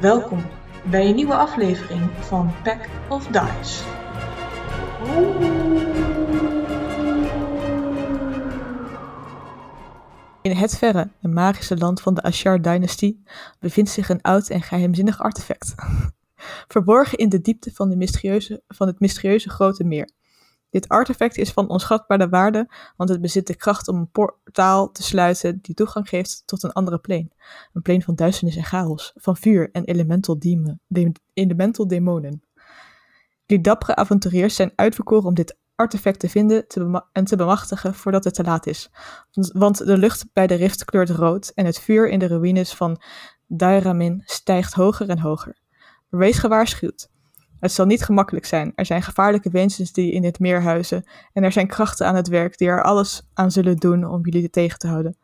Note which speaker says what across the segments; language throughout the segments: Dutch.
Speaker 1: Welkom bij een nieuwe aflevering van Pack of Dice. In het verre en magische land van de Ashar-dynastie bevindt zich een oud en geheimzinnig artefact. Verborgen in de diepte van, de mysterieuze, van het mysterieuze grote meer. Dit artefact is van onschatbare waarde, want het bezit de kracht om een portaal te sluiten die toegang geeft tot een andere plane. Een plane van duisternis en chaos, van vuur en elemental, demon, de- elemental demonen. Die dappere avonturiers zijn uitverkoren om dit artefact te vinden te bema- en te bemachtigen voordat het te laat is. Want- Want de lucht bij de rift kleurt rood en het vuur in de ruïnes van Dairamin stijgt hoger en hoger. Maar Wees gewaarschuwd. Het zal niet gemakkelijk zijn. Er zijn gevaarlijke wezens die in het meer huizen. En er zijn krachten aan het werk die er alles aan zullen doen om jullie tegen te houden.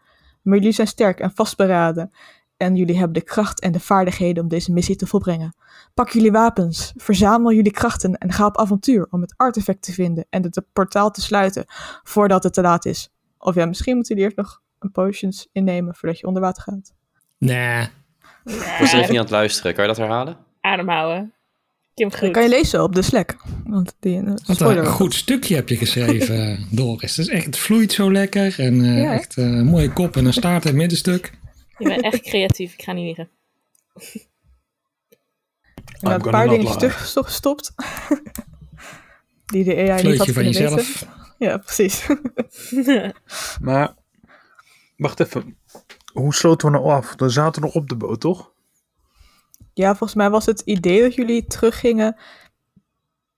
Speaker 1: Maar jullie zijn sterk en vastberaden. En jullie hebben de kracht en de vaardigheden om deze missie te volbrengen. Pak jullie wapens, verzamel jullie krachten en ga op avontuur om het artefact te vinden en het portaal te sluiten voordat het te laat is. Of ja, misschien moeten jullie eerst nog een potions innemen voordat je onder water gaat.
Speaker 2: Nee.
Speaker 3: Ik was even niet aan het luisteren. Kan je dat herhalen?
Speaker 4: Ademhouden. Kim goed.
Speaker 1: Kan je lezen op de Slack? Want die eh,
Speaker 2: Wat
Speaker 1: spoiler.
Speaker 2: een goed stukje heb je geschreven, Doris. Het, is echt, het vloeit zo lekker en eh,
Speaker 1: Ja.
Speaker 2: echt eh, een mooie kop en een staart en middenstuk.
Speaker 4: Je bent echt creatief, ik ga niet liegen.
Speaker 1: En dat een
Speaker 2: gonna
Speaker 1: paar
Speaker 2: not
Speaker 1: dingen
Speaker 2: lie.
Speaker 1: terug sto- stopt. die de AI niet had
Speaker 2: Vleutje van
Speaker 1: kunnen
Speaker 2: jezelf.
Speaker 1: weten. Ja, precies.
Speaker 5: Maar, wacht even. Hoe sloten we nou af? We zaten nog op de boot, toch?
Speaker 1: ja, volgens mij was het idee dat jullie teruggingen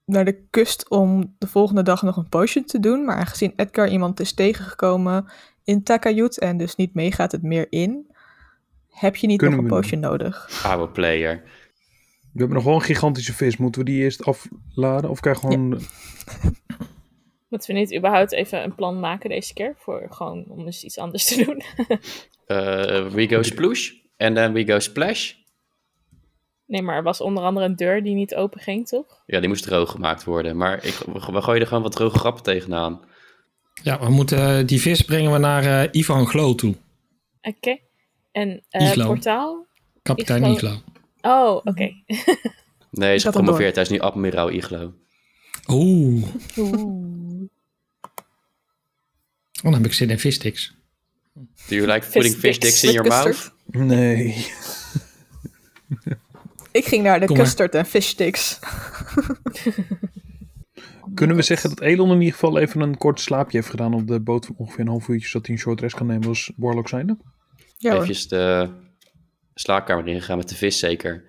Speaker 1: naar de kust om de volgende dag nog een potion te doen. Maar aangezien Edgar iemand is tegengekomen in Takayut en dus niet meegaat het meer in, heb je niet
Speaker 5: Kunnen
Speaker 1: nog een
Speaker 5: we doen.
Speaker 1: potion nodig.
Speaker 3: Oude player.
Speaker 5: We hebben nog wel een gigantische vis. Moeten we die eerst afladen? Of krijg gewoon...
Speaker 4: Moeten we niet überhaupt even een plan maken deze keer? Voor gewoon om eens iets anders te doen.
Speaker 3: Eh, we go sploosh. En then we go splash.
Speaker 4: Nee, maar er was onder andere een deur die niet open ging, toch?
Speaker 3: Ja, die moest droog gemaakt worden. Maar ik, we gooien er gewoon wat droge grappen tegenaan.
Speaker 2: Ja, we moeten eh, die vis brengen we naar eh, Ivan Glo toe.
Speaker 4: Oké. En eh,
Speaker 2: Islo.
Speaker 4: portaal?
Speaker 2: Kapitein
Speaker 4: Iglo.
Speaker 2: Iglo.
Speaker 4: Oh,
Speaker 1: Mhm.
Speaker 4: oké.
Speaker 3: Nee, hij is
Speaker 1: Ik had hem
Speaker 3: gepromoveerd. Hij is nu admiraal Iglo.
Speaker 2: Oeh, oh,
Speaker 4: Oeh.
Speaker 2: dan heb ik zin in vissticks.
Speaker 3: Do you like putting fish dicks in your
Speaker 1: Met
Speaker 3: mouth?
Speaker 1: custard.
Speaker 5: Nee.
Speaker 1: Ik ging naar de
Speaker 2: Kom maar.
Speaker 1: custard en fish sticks.
Speaker 5: Kunnen we zeggen dat Elon in ieder geval even een kort slaapje heeft gedaan op de boot van ongeveer een half uurtje, zodat hij een short rest kan nemen als Warlock zijnde?
Speaker 1: Ja, hoor.
Speaker 3: Even de slaapkamer ingegaan met de vis zeker.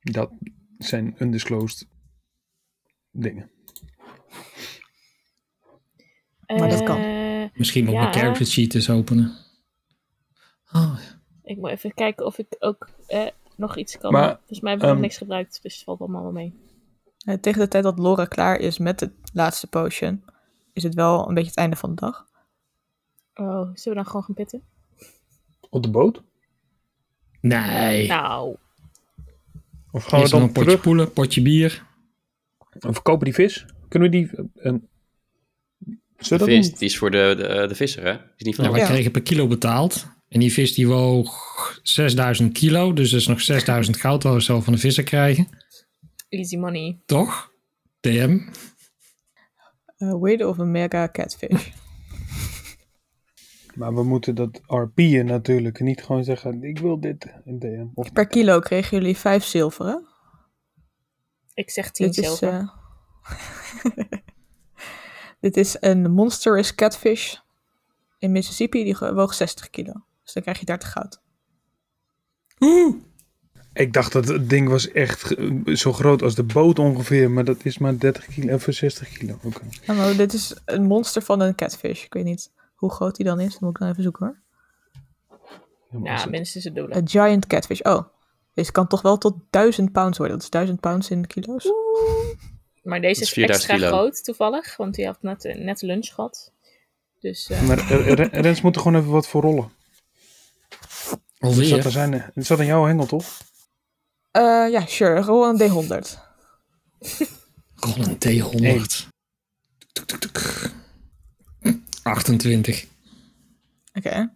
Speaker 5: Dat zijn undisclosed dingen.
Speaker 1: Maar dat kan.
Speaker 4: Eh,
Speaker 2: Misschien wel
Speaker 4: Ja.
Speaker 2: mijn character sheet eens openen. Oh,
Speaker 4: ik moet even kijken of ik ook eh, nog iets kan.
Speaker 5: Maar,
Speaker 4: Volgens mij hebben we nog
Speaker 5: ehm,
Speaker 4: niks gebruikt, dus het valt allemaal wel mee.
Speaker 1: Eh, Tegen de tijd dat Laura klaar is met de laatste potion, is het wel een beetje het einde van de dag.
Speaker 4: Oh, zullen we dan gewoon gaan pitten?
Speaker 5: Op de boot?
Speaker 2: nee.
Speaker 4: Nou,
Speaker 5: Of gaan we
Speaker 2: Eerst nog
Speaker 5: dan
Speaker 2: een potje
Speaker 5: terug?
Speaker 2: poelen, potje bier.
Speaker 5: Of kopen die vis? Kunnen we die... eh, een-
Speaker 3: De
Speaker 5: Zullen we dat
Speaker 3: vis,
Speaker 5: doen?
Speaker 3: die is voor de, de, de visser, hè? Die is niet voor
Speaker 2: Nou,
Speaker 3: mij.
Speaker 2: wij
Speaker 1: Ja.
Speaker 2: kregen per kilo betaald. En die vis die woog 6000 kilo. Dus dat is nog 6000 goud wat we zo van de visser krijgen.
Speaker 4: easy money.
Speaker 2: Toch? DM.
Speaker 1: Eh Weird of a mega catfish.
Speaker 5: Maar we moeten dat RP'en natuurlijk. Niet gewoon zeggen, ik wil dit in DM. Of
Speaker 1: per kilo kregen jullie vijf zilveren.
Speaker 4: Ik zeg 10
Speaker 1: Dit is,
Speaker 4: zilver.
Speaker 1: eh, dit is een monstrous catfish in Mississippi. Die ge- woog 60 kilo. Dus dan krijg je 30 goud.
Speaker 5: Ik dacht dat het ding was echt eh, zo groot als de boot ongeveer. Maar dat is maar 30 kilo, of 60 kilo. Oké.
Speaker 1: Ja, Nou, maar dit is een monster van een catfish. Ik weet niet hoe groot die dan is. Dat moet ik dan even zoeken hoor.
Speaker 5: Ja, maar als
Speaker 4: Ja,
Speaker 5: het-
Speaker 4: minstens het dubbele.
Speaker 1: Een giant catfish. Oh, deze kan toch wel tot 1000 pounds worden. Dat is 1000 pounds in kilo's.
Speaker 4: Maar deze
Speaker 3: Dat is
Speaker 4: is
Speaker 3: 4000
Speaker 4: extra
Speaker 3: kilo.
Speaker 4: groot toevallig, want die had net, eh, net lunch gehad. Dus eh,
Speaker 5: maar eh, Re- Rens moet er gewoon even wat voor rollen. Het zat, aan
Speaker 2: Alweer.
Speaker 5: zijn, het zat aan jouw hengel, toch?
Speaker 1: Eh, ja, sure. Rol een D100.
Speaker 2: Rol een T100. Tuk, tuk, tuk. 28.
Speaker 1: Oké.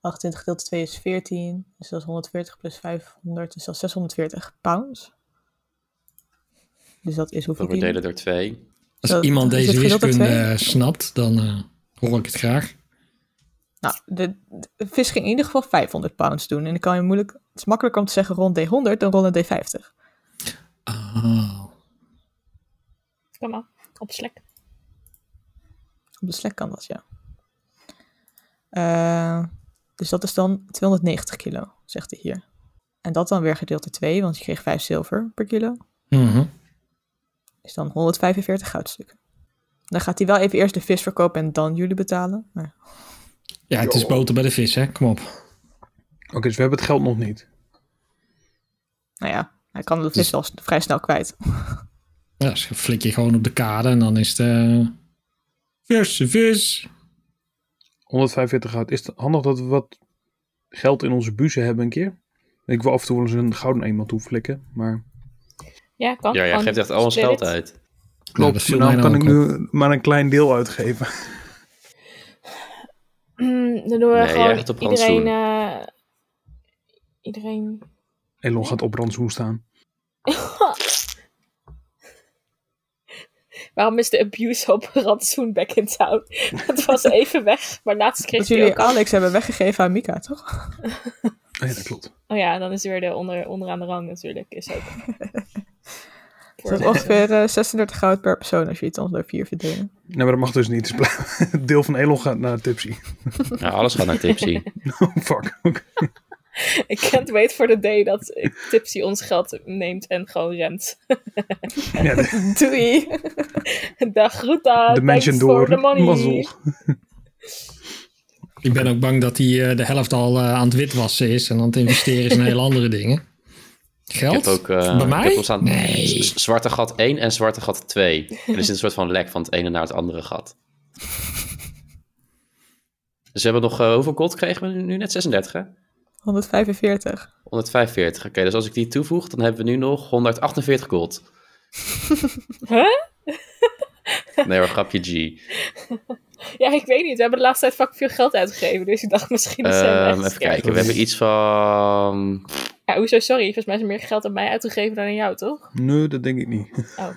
Speaker 1: 28 gedeeld door 2 is 14. Dus dat is 140 plus 500. Dus dat is 640 pounds. Dus dat is hoeveel
Speaker 3: Dat
Speaker 1: kilo?
Speaker 3: delen door twee.
Speaker 2: Als
Speaker 1: Dat-
Speaker 2: iemand
Speaker 1: is het
Speaker 2: deze
Speaker 1: gedeeld door
Speaker 2: wiskunde
Speaker 1: twee?
Speaker 2: eh, snapt, dan eh, hoor ik het graag.
Speaker 1: Nou, de, de vis ging in ieder geval 500 pounds doen. En dan kan je moeilijk... Het is makkelijker om te zeggen rond D100 dan rond een D50.
Speaker 2: Ah,
Speaker 4: Kom maar, op slek.
Speaker 1: Op de Slack kan dat, ja. Eh, dus dat is dan 290 kilo, zegt hij hier. En dat dan weer gedeeld door 2, want je kreeg 5 zilver per kilo.
Speaker 2: mhm.
Speaker 1: Is dan 145 goudstukken. Dan gaat hij wel even eerst de vis verkopen en dan jullie betalen. Maar
Speaker 2: Ja, het is boter bij de vis, hè? Kom op.
Speaker 5: Oké, dus we hebben het geld nog niet.
Speaker 1: nou ja, hij kan de
Speaker 2: Dus-
Speaker 1: vis wel s- vrij snel kwijt.
Speaker 2: Ja, dus flik je gewoon op de kade en dan is het... eh, verse vis.
Speaker 5: 145 goud. Is het handig dat we wat geld in onze buzen hebben een keer? Ik wil af en toe wel eens een gouden eenmaal toeflikken, maar...
Speaker 4: Ja, kan.
Speaker 3: Ja, jij
Speaker 4: Gewoon
Speaker 3: geeft echt al ons
Speaker 4: split
Speaker 3: geld
Speaker 4: it.
Speaker 3: uit.
Speaker 2: Nou, dat viel
Speaker 5: maar
Speaker 2: mij
Speaker 5: dan kan ik
Speaker 2: nou ook
Speaker 5: nu maar een klein deel uitgeven.
Speaker 4: Mm, dan doen we
Speaker 3: Nee, jij
Speaker 4: gewoon
Speaker 3: gaat op
Speaker 4: iedereen...
Speaker 3: rantsoen.
Speaker 4: eh, iedereen...
Speaker 5: Elon gaat op rantsoen staan.
Speaker 4: Waarom is de abuse op rantsoen back in town? Dat was even weg, maar laatst kreeg
Speaker 1: Dat
Speaker 4: hij
Speaker 1: jullie
Speaker 4: ook al.
Speaker 1: Alex hebben weggegeven aan Mika, toch?
Speaker 5: Ah ja, dat klopt.
Speaker 4: Oh ja, dan is er weer de onder, onderaan de rang natuurlijk. Is ook.
Speaker 1: Dat is ongeveer eh, 36 goud per persoon als je het ons door 4 verdelen.
Speaker 5: Nee, maar dat mag dus niet. Het deel van Elon gaat naar Tipsy.
Speaker 3: Nou, alles gaat naar Tipsy.
Speaker 5: Oh, fuck. Oké.
Speaker 4: Ik can't wait for the day dat Tipsy ons geld neemt en gewoon rent.
Speaker 5: Ja, de,
Speaker 1: Doei!
Speaker 4: Dag Ruta,
Speaker 5: de
Speaker 4: thanks
Speaker 5: mensen
Speaker 4: for
Speaker 5: door.
Speaker 4: the money.
Speaker 5: Mazzel.
Speaker 2: Ik ben ook bang dat hij eh, de helft al eh, aan het witwassen is en aan het investeren is in hele andere dingen.
Speaker 3: Ik
Speaker 2: Geld?
Speaker 3: heb ook eh,
Speaker 2: Bij mij?
Speaker 3: Ik heb al staan,
Speaker 2: Nee.
Speaker 3: z- z- Zwarte gat 1 en zwarte gat 2. En er zit een soort van lek van het ene naar het andere gat. Dus we hebben nog, eh, hoeveel gold kregen we nu net? 36, hè?
Speaker 1: 145.
Speaker 3: 145. Oké, dus als ik die toevoeg, dan hebben we nu nog 148 gold.
Speaker 4: Huh?
Speaker 3: Nee hoor, grapje G.
Speaker 4: Ja, ik weet niet. We hebben de laatste tijd vaak veel geld uitgegeven. Dus ik dacht misschien is hij
Speaker 3: Ehm,
Speaker 4: best. Oh
Speaker 3: even kijken, we hebben iets van...
Speaker 4: Ja, hoezo? Sorry, volgens mij is er meer geld aan mij uitgegeven dan aan jou, toch?
Speaker 5: Nee, dat denk ik niet.
Speaker 4: Oh.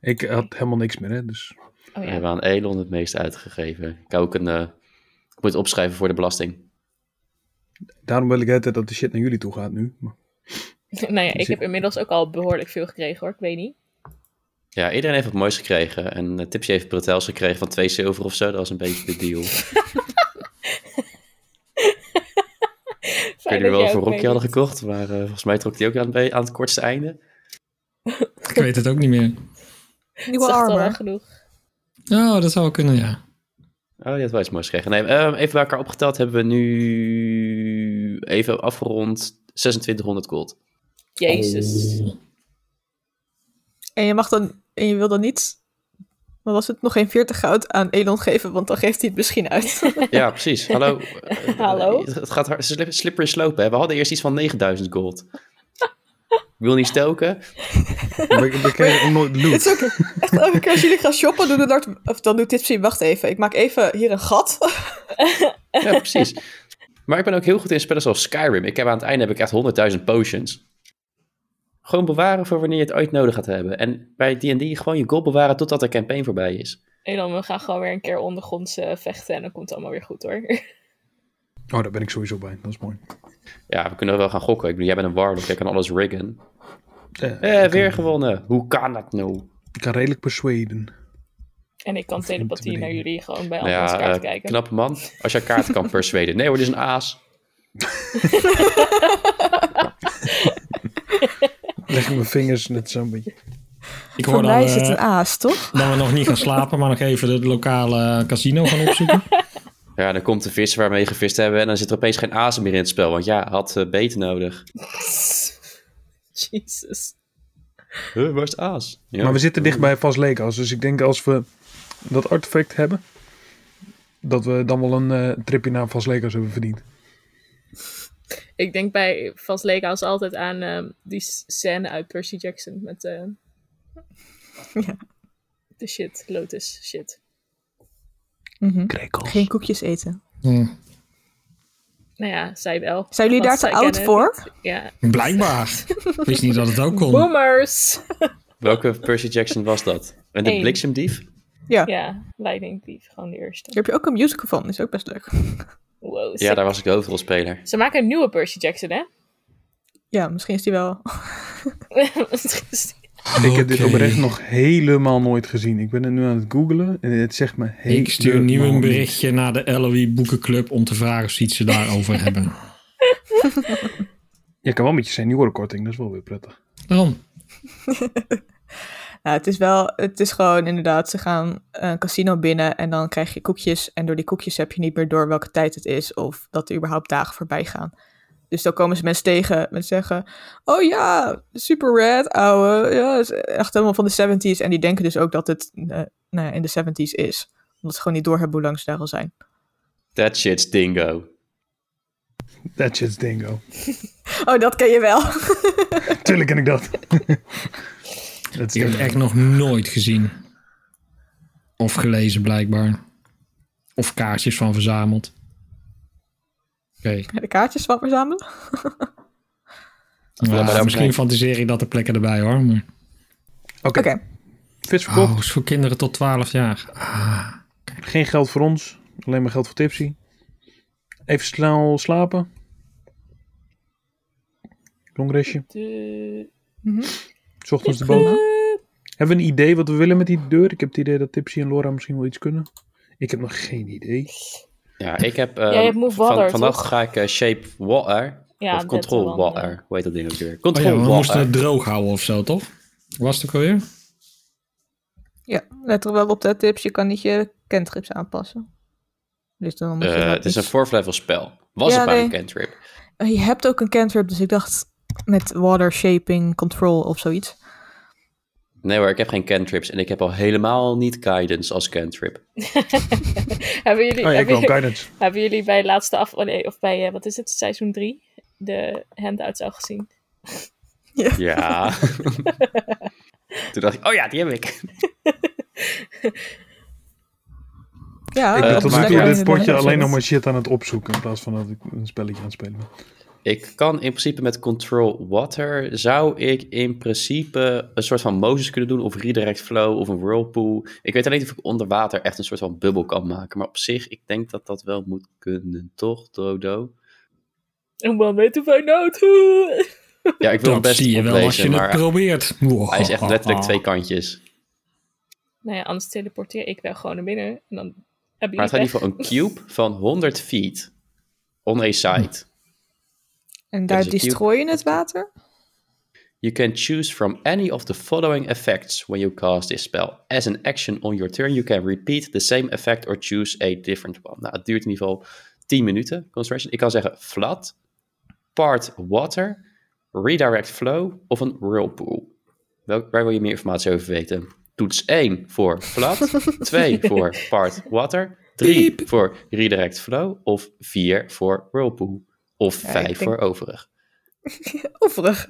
Speaker 5: Ik had helemaal niks meer, hè. Dus
Speaker 4: Oh
Speaker 3: We
Speaker 4: ja.
Speaker 3: hebben aan Elon het meest uitgegeven. Ik heb ook een... eh, ik moet het opschrijven voor de belasting.
Speaker 5: daarom wil ik de hele tijd dat de shit naar jullie toe gaat nu. Maar
Speaker 4: Nou ja, ik heb inmiddels ook al behoorlijk veel gekregen hoor. Ik weet niet.
Speaker 3: Ja, iedereen heeft wat moois gekregen. En eh, Tipsy heeft bretels gekregen van twee zilver of zo. Dat was een beetje de deal. Ik weet niet
Speaker 4: Fijn dat
Speaker 3: wel
Speaker 4: jij
Speaker 3: voor
Speaker 4: ook
Speaker 3: Rocky
Speaker 4: meedoet.
Speaker 3: hadden gekocht, maar eh, volgens mij trok hij ook aan, het be- aan het kortste einde.
Speaker 2: Ik weet het ook niet meer.
Speaker 4: Het is
Speaker 1: Nieuwe
Speaker 4: echt al wel
Speaker 1: armor.
Speaker 4: genoeg.
Speaker 2: Oh, dat zou wel kunnen, ja.
Speaker 3: Oh, die had wel iets moois gekregen. Nee, ehm, even bij elkaar opgeteld hebben we nu even afgerond 2600 gold.
Speaker 4: Jezus.
Speaker 1: En je mag dan, en je wil dan niet, wat was het, nog geen 40 goud aan Elon geven, want dan geeft hij het misschien uit.
Speaker 3: Ja, precies. Hallo. Eh,
Speaker 4: Hallo?
Speaker 3: Het gaat hard, slip- slippery slope, hè. We hadden eerst iets van 9000 gold. Ik wil niet stoken.
Speaker 5: we, we kregen ook nooit
Speaker 1: Het
Speaker 5: loot.
Speaker 1: is ook echt elke keer als jullie gaan shoppen, doen het hard- of dan doet Tipsy, wacht even, ik maak even hier een gat.
Speaker 3: Ja, precies. Maar ik ben ook heel goed in spellen zoals Skyrim. Ik heb aan het einde heb ik echt 100.000 potions. Gewoon bewaren voor wanneer je het ooit nodig gaat hebben. En bij D&D gewoon je gold bewaren totdat de campaign voorbij is.
Speaker 4: En dan we gaan gewoon weer een keer ondergronds eh, vechten en dan komt het allemaal weer goed hoor.
Speaker 5: Oh, daar ben ik sowieso bij. Dat is mooi.
Speaker 3: Ja, we kunnen wel gaan gokken. Ik bedoel, jij bent een warlock, jij kan alles riggen.
Speaker 5: Eh,
Speaker 3: Eh, weer gewonnen. Hoe kan dat nou?
Speaker 5: ik kan redelijk persuaden.
Speaker 4: En ik kan telepathie naar jullie gewoon bij
Speaker 3: Nou
Speaker 4: andere
Speaker 3: ja,
Speaker 4: kaart
Speaker 3: eh,
Speaker 4: kijken.
Speaker 3: knappe man. Als jij kaart kan persuaden. Nee hoor, dit is een aas.
Speaker 5: Leg ik mijn vingers net zo'n beetje.
Speaker 2: Ik
Speaker 1: Voor
Speaker 2: hoor dan
Speaker 1: mij
Speaker 2: eh,
Speaker 1: zit een aas, toch?
Speaker 2: dat we nog niet gaan slapen, maar nog even het lokale casino gaan opzoeken.
Speaker 3: Ja, dan komt de vis waarmee je gevist hebben en dan zit er opeens geen aas meer in het spel. Want ja, had eh, beter nodig.
Speaker 4: Jezus.
Speaker 3: Huh, waar is het aas? Ja.
Speaker 5: Maar we zitten dicht bij Vas Legas, dus ik denk als we dat artefact hebben, dat we dan wel een eh, tripje naar Vas Legas hebben verdiend.
Speaker 4: Ik denk bij Vast Lakehouse altijd aan ehm, die scène uit Percy Jackson met eh,
Speaker 1: Ja.
Speaker 4: de shit, Lotus shit.
Speaker 1: Mhm.
Speaker 5: Krekels.
Speaker 1: Geen koekjes eten.
Speaker 2: Hm.
Speaker 4: Nou ja, zij wel.
Speaker 1: Zijn jullie daar
Speaker 4: Want
Speaker 1: te
Speaker 4: zij
Speaker 1: oud
Speaker 4: kennen
Speaker 1: voor?
Speaker 4: het. Ja.
Speaker 2: Blijkbaar. Ik wist niet dat het ook kon.
Speaker 4: Boomers!
Speaker 3: Welke Percy Jackson was dat? En de
Speaker 4: Eén.
Speaker 3: bliksemdief?
Speaker 4: Ja, Lightning Thief, gewoon de eerste.
Speaker 1: Daar heb je ook een musical van, is ook best leuk.
Speaker 4: Wow,
Speaker 3: Ja,
Speaker 4: sick.
Speaker 3: daar was ik de hoofdrolspeler.
Speaker 4: Ze maken een nieuwe Percy Jackson, hè?
Speaker 1: Ja, misschien is die wel.
Speaker 5: Ik heb dit
Speaker 2: Oké.
Speaker 5: oprecht nog helemaal nooit gezien. Ik ben het nu aan het googlen en het zegt me helemaal
Speaker 2: Ik stuur nu een
Speaker 5: niks.
Speaker 2: berichtje naar de LOE Boekenclub om te vragen of ze iets daarover hebben.
Speaker 5: Je kan wel met je seniorenkorting, dat is wel weer prettig.
Speaker 2: Daarom.
Speaker 1: Nou, het is wel, het is gewoon inderdaad, ze gaan een casino binnen en dan krijg je koekjes. En door die koekjes heb je niet meer door welke tijd het is of dat er überhaupt dagen voorbij gaan. Dus dan komen ze mensen tegen en zeggen, oh ja, super red, ouwe. Ja, is echt helemaal van de 70s. En die denken dus ook dat het eh, nou ja, in de 70s is. Omdat ze gewoon niet doorhebben hoe lang ze daar al zijn.
Speaker 3: That shit's dingo.
Speaker 5: That shit's dingo.
Speaker 1: Oh, dat ken je wel.
Speaker 5: Tuurlijk ken ik dat. dat
Speaker 2: Ik
Speaker 5: is
Speaker 2: heb het echt nog nooit gezien. Of gelezen blijkbaar. Of kaartjes van verzameld. Oké.
Speaker 1: De kaartjes wat verzamelen.
Speaker 2: Ja,
Speaker 3: maar ook
Speaker 2: Nou, misschien
Speaker 3: nee.
Speaker 2: fantaseer ik dat de plekken erbij hoor. Maar...
Speaker 5: Oké,
Speaker 1: Oké,
Speaker 5: vis verkocht.
Speaker 2: Oh, is voor kinderen tot 12 jaar. Ah.
Speaker 5: Geen geld voor ons. Alleen maar geld voor tipsy. Even snel slapen. Long restje.
Speaker 4: De-
Speaker 5: S ochtends de boot. Hebben we een idee wat we willen met die deur? Ik heb het idee dat Tipsy en Laura misschien wel iets kunnen. Ik heb nog geen idee.
Speaker 3: Ja, ik heb...
Speaker 4: Jij hebt
Speaker 3: ehm,
Speaker 4: Move
Speaker 3: van-
Speaker 4: Water,
Speaker 3: Vannacht
Speaker 4: toch?
Speaker 3: ga ik eh, Shape Water.
Speaker 4: Ja,
Speaker 3: of
Speaker 4: dat
Speaker 3: Control
Speaker 4: wel, eh,
Speaker 3: Water.
Speaker 4: ja.
Speaker 3: Hoe heet dat ding ook weer?
Speaker 2: Oh
Speaker 3: Control
Speaker 2: ja, we moesten het
Speaker 3: Water.
Speaker 2: droog houden of zo, toch? Was het ook alweer?
Speaker 1: ja, let er wel op de tips. Je kan niet je cantrips aanpassen. Dus dan moet je
Speaker 3: Eh,
Speaker 1: dat
Speaker 3: het is een
Speaker 1: iets-
Speaker 3: fourth level spel. Was
Speaker 1: Ja,
Speaker 3: een bij
Speaker 1: nee.
Speaker 3: een cantrip.
Speaker 1: Je hebt ook een cantrip, dus ik dacht met water shaping control of zoiets.
Speaker 3: Nee hoor, ik heb geen cantrips. En ik heb al helemaal niet guidance als cantrip.
Speaker 4: hebben, jullie,
Speaker 5: Oh ja, ik
Speaker 4: hebben,
Speaker 5: wil
Speaker 4: jullie,
Speaker 5: guidance.
Speaker 4: hebben jullie bij laatste af... oh nee, of bij, eh, wat is het, seizoen 3? De handouts al gezien.
Speaker 3: Ja. Toen dacht ik, oh ja, die heb ik.
Speaker 1: Ja,
Speaker 5: Ik
Speaker 1: dat
Speaker 3: Eh,
Speaker 5: ben
Speaker 1: is
Speaker 5: tot nu
Speaker 3: maar-
Speaker 5: toe
Speaker 1: lekker.
Speaker 3: ja,
Speaker 5: dit potje
Speaker 1: Inderdaad.
Speaker 5: alleen nog maar shit aan het opzoeken. In plaats van dat ik een spelletje aan het spelen ben.
Speaker 3: Ik kan in principe met Control Water, zou ik in principe een soort van Moses kunnen doen, of Redirect Flow, of een Whirlpool. Ik weet alleen niet of ik onder water echt een soort van bubbel kan maken, maar op zich, ik denk dat dat wel moet kunnen, toch, Dodo?
Speaker 4: En one way to find out.
Speaker 3: Ja, ik wil
Speaker 2: Dat
Speaker 3: hem best
Speaker 2: zie je wel als je
Speaker 3: oplezen,
Speaker 2: het
Speaker 3: maar
Speaker 2: probeert.
Speaker 3: hij is echt letterlijk twee kantjes.
Speaker 4: nou ja, anders teleporteer ik wel gewoon naar binnen. En dan hebben
Speaker 3: Maar het gaat in
Speaker 4: jullie
Speaker 3: ieder geval een cube van 100 feet on a side.
Speaker 1: En
Speaker 3: is
Speaker 1: daar
Speaker 3: een cube.
Speaker 1: destrooi je het water?
Speaker 3: You can choose from any of the following effects when you cast this spell. As an action on your turn, you can repeat the same effect or choose a different one. Nou, het duurt in ieder geval 10 minuten, concentration. Ik kan zeggen flat, part water, redirect flow of een whirlpool. Wel, waar wil je meer informatie over weten? Toets 1 voor flat, 2 voor part water, 3 voor redirect flow of 4 voor whirlpool. Of
Speaker 1: Ja, ik
Speaker 3: 5 voor overig.
Speaker 1: Overig.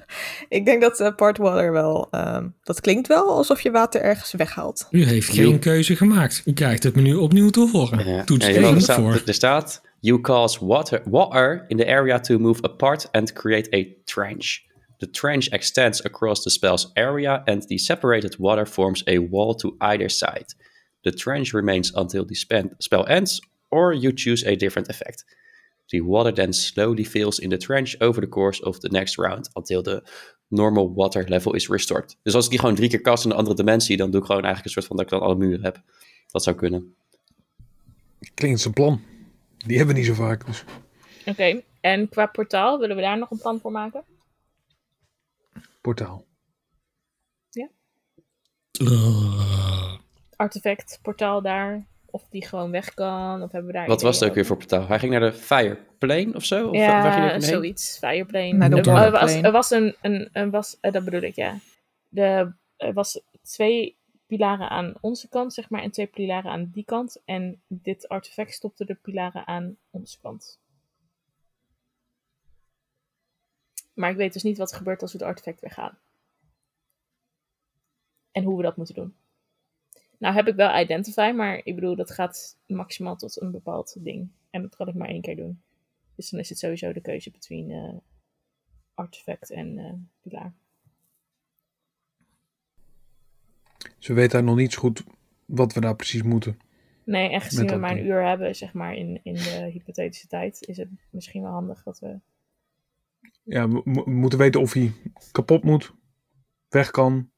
Speaker 1: Ik denk dat eh, part water wel. ehm, dat klinkt wel alsof je water ergens weghaalt.
Speaker 2: U heeft geen keuze gemaakt. U krijgt het menu opnieuw te horen.
Speaker 3: Ja,
Speaker 2: Toets
Speaker 3: ja, jawel,
Speaker 2: 1
Speaker 3: er, staat,
Speaker 2: voor.
Speaker 3: er- er staat, you cause water, water in the area to move apart and create a trench. The trench extends across the spell's area and the separated water forms a wall to either side. The trench remains until the span- spell ends or you choose a different effect. The water then slowly fills in the trench over the course of the next round until the normal water level is restored. Dus als ik die gewoon drie keer kast in een andere dimensie, dan doe ik gewoon eigenlijk een soort van dat ik dan alle muren heb. Dat zou kunnen.
Speaker 5: Klinkt als een plan. Die hebben we niet zo vaak. Dus.
Speaker 4: Oké, en qua portaal, willen we daar nog een plan voor maken?
Speaker 5: Portaal.
Speaker 2: Eh,
Speaker 4: Artefact, portaal daar. Of die gewoon weg kan, of hebben we daar...
Speaker 3: Wat was
Speaker 4: ideeën
Speaker 3: het ook weer voor
Speaker 4: over?
Speaker 3: portaal? Hij ging naar de Fireplane of zo? Of waar ging hij ook
Speaker 4: Ja,
Speaker 3: heen?
Speaker 4: zoiets. Fireplane.
Speaker 1: Naar de
Speaker 4: Er- er, was,
Speaker 1: Waterplane.
Speaker 4: er was een... een, een was, eh, dat bedoel ik, ja. De, er was twee pilaren aan onze kant, zeg maar, en twee pilaren aan die kant. En dit artefact stopte de pilaren aan onze kant. Maar ik weet dus niet wat er gebeurt als we het artefact weghalen. En hoe we dat moeten doen. Nou heb ik wel Identify, maar ik bedoel, dat gaat maximaal tot een bepaald ding. En dat kan ik maar één keer doen. Dus dan is het sowieso de keuze between eh artefact en eh, pilaar.
Speaker 5: Dus we weten daar nog niet zo goed wat we daar precies moeten.
Speaker 4: Nee, en gezien
Speaker 5: Met
Speaker 4: we
Speaker 5: dat
Speaker 4: maar een
Speaker 5: ding.
Speaker 4: uur hebben, zeg maar, in, in de hypothetische tijd, is het misschien wel handig dat we...
Speaker 5: Ja, we, mo- we moeten weten of hij kapot moet, weg kan.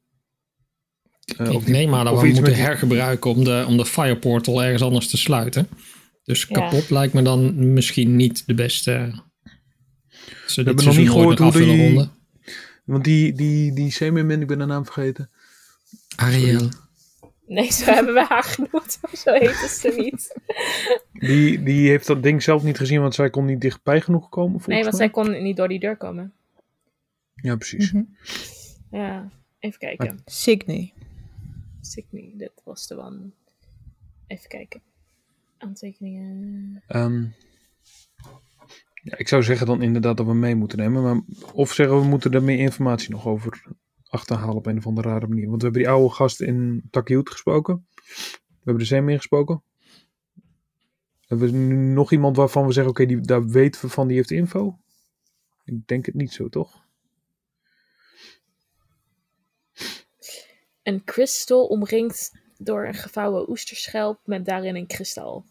Speaker 5: eh,
Speaker 2: ik
Speaker 5: of die-
Speaker 2: neem aan dat
Speaker 5: of
Speaker 2: we hem
Speaker 5: iets
Speaker 2: moeten
Speaker 5: met-
Speaker 2: hergebruiken om de, om de fireportal ergens anders te sluiten. Dus
Speaker 4: Ja.
Speaker 2: kapot lijkt me dan misschien niet de beste. Ze dit
Speaker 5: hebben nog
Speaker 2: seizoen
Speaker 5: niet
Speaker 2: ooit nog
Speaker 5: gehoord hoe
Speaker 2: af willen
Speaker 5: die-
Speaker 2: ronden.
Speaker 5: Want die, die, die Semerman, ik ben de naam vergeten.
Speaker 2: Ariel.
Speaker 4: Nee, zo hebben we haar genoemd, maar zo heet ze niet.
Speaker 5: Die, die heeft dat ding zelf niet gezien, want zij kon niet dichtbij genoeg komen. Volgens
Speaker 4: Nee, want zij
Speaker 5: mij.
Speaker 4: kon niet door die deur komen.
Speaker 5: Ja, precies.
Speaker 1: Mhm.
Speaker 4: Ja, even
Speaker 5: Ah.
Speaker 4: kijken.
Speaker 1: Signy.
Speaker 4: Signy, dat was de one. Even kijken. Aantekeningen.
Speaker 5: Ehm, ja, ik zou zeggen dan inderdaad dat we hem mee moeten nemen. Maar of zeggen we moeten er meer informatie nog over achterhalen op een of andere rare manier. Want we hebben die oude gast in Takiut gesproken. We hebben de Zeemeer gesproken. Hebben we nu nog iemand waarvan we zeggen, oké, die daar weten we van, die heeft info? Ik denk het niet zo, toch?
Speaker 4: Een kristal omringd door een gevouwen oesterschelp met daarin een kristal.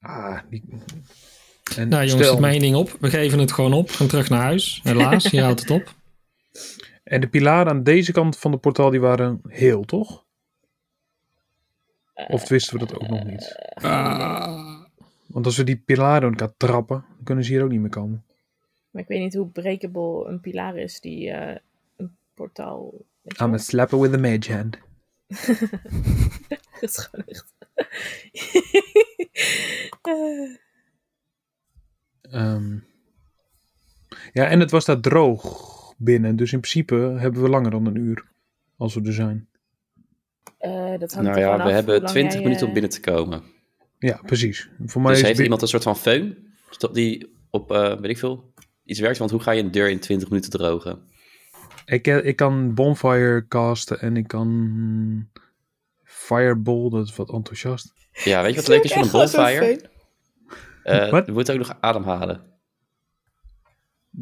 Speaker 5: Ah, die... En
Speaker 2: Nou jongens,
Speaker 5: stel-
Speaker 2: zet mij één ding op. We geven het gewoon op. Gaan terug naar huis. Helaas, je houdt het op.
Speaker 5: En de pilaren aan deze kant van het portaal, die waren heel, toch?
Speaker 4: Eh,
Speaker 5: Of wisten we dat ook nog niet?
Speaker 2: Ah.
Speaker 5: Want als we die pilaren door elkaar trappen, dan kunnen ze hier ook niet meer komen.
Speaker 4: Maar ik weet niet hoe breakable een pilaar is die eh, een portaal.
Speaker 5: Ah,
Speaker 4: weet je
Speaker 5: I'm a
Speaker 4: wel.
Speaker 5: slapper with a mage hand.
Speaker 4: Dat is gewoon echt. Eh,
Speaker 5: Ehm, Ja, en het was daar droog binnen. Dus in principe hebben we langer dan een uur. Als we er zijn.
Speaker 4: eh, dat hangt
Speaker 3: Nou
Speaker 4: er
Speaker 3: ja,
Speaker 4: gewoon
Speaker 3: we
Speaker 4: af hoe
Speaker 3: hebben
Speaker 4: lang
Speaker 3: 20
Speaker 4: jij,
Speaker 3: minuten
Speaker 4: eh,
Speaker 3: om binnen te komen.
Speaker 5: Ja, precies. Voor mij
Speaker 3: Dus
Speaker 5: is
Speaker 3: heeft
Speaker 5: bi-
Speaker 3: iemand een soort van föhn zodat die op, eh, weet ik veel, iets werkt? Want hoe ga je een deur in 20 minuten drogen?
Speaker 5: ik, eh, ik kan bonfire casten en ik kan fireball. Dat is wat enthousiast.
Speaker 3: Ja, weet je wat leuk is van een
Speaker 1: Echt wel zo'n
Speaker 3: bonfire?
Speaker 1: feun.
Speaker 3: Eh
Speaker 5: Wat?
Speaker 3: je moet ook nog ademhalen.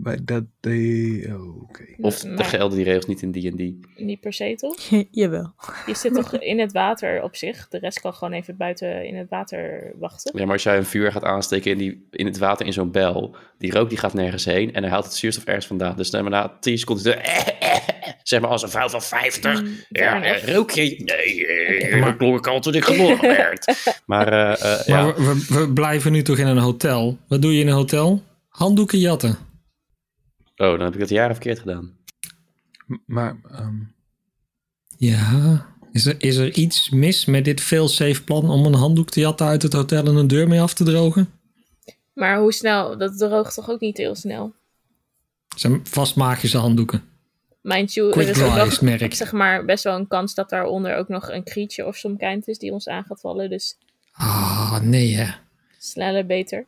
Speaker 5: Maar dat... eh, oh, Oké.
Speaker 3: Of
Speaker 4: maar
Speaker 3: de gelden die regels niet in D&D.
Speaker 4: Niet per se toch?
Speaker 1: Jawel.
Speaker 4: Je zit toch in het water op zich? De rest kan gewoon even buiten in het water wachten.
Speaker 3: Ja, maar als jij een vuur gaat aansteken in, die, in het water in zo'n bel, die rook die gaat nergens heen en hij haalt het zuurstof ergens vandaan. Dus dan na 10 seconden, is het, eh, zeg maar als een vrouw van 50,
Speaker 4: Mm,
Speaker 3: ja,
Speaker 4: fair
Speaker 3: eh, rook je? Nee, eh,
Speaker 2: Maar-
Speaker 3: dat klonk al toen ik geboren werd. Maar, eh, eh,
Speaker 2: Maar
Speaker 3: ja.
Speaker 2: we, we- we blijven nu toch in een hotel. Wat doe je in een hotel? Handdoeken jatten.
Speaker 3: Oh, dan heb ik dat jaren verkeerd gedaan.
Speaker 5: M- Maar... ehm,
Speaker 2: Ja. Is er, is er iets mis met dit fail-safe plan om een handdoek te jatten uit het hotel en een deur mee af te drogen?
Speaker 4: Maar hoe snel? Dat droogt toch ook niet heel snel?
Speaker 2: Het zijn vast magische handdoeken.
Speaker 4: Mind you,
Speaker 2: Quick
Speaker 4: er is ook
Speaker 2: dry
Speaker 4: nog
Speaker 2: is merk.
Speaker 4: zeg maar, best wel een kans dat daaronder ook nog een creature of some kind is die ons aan gaat vallen. Dus
Speaker 2: Ah, nee hè.
Speaker 4: sneller, beter.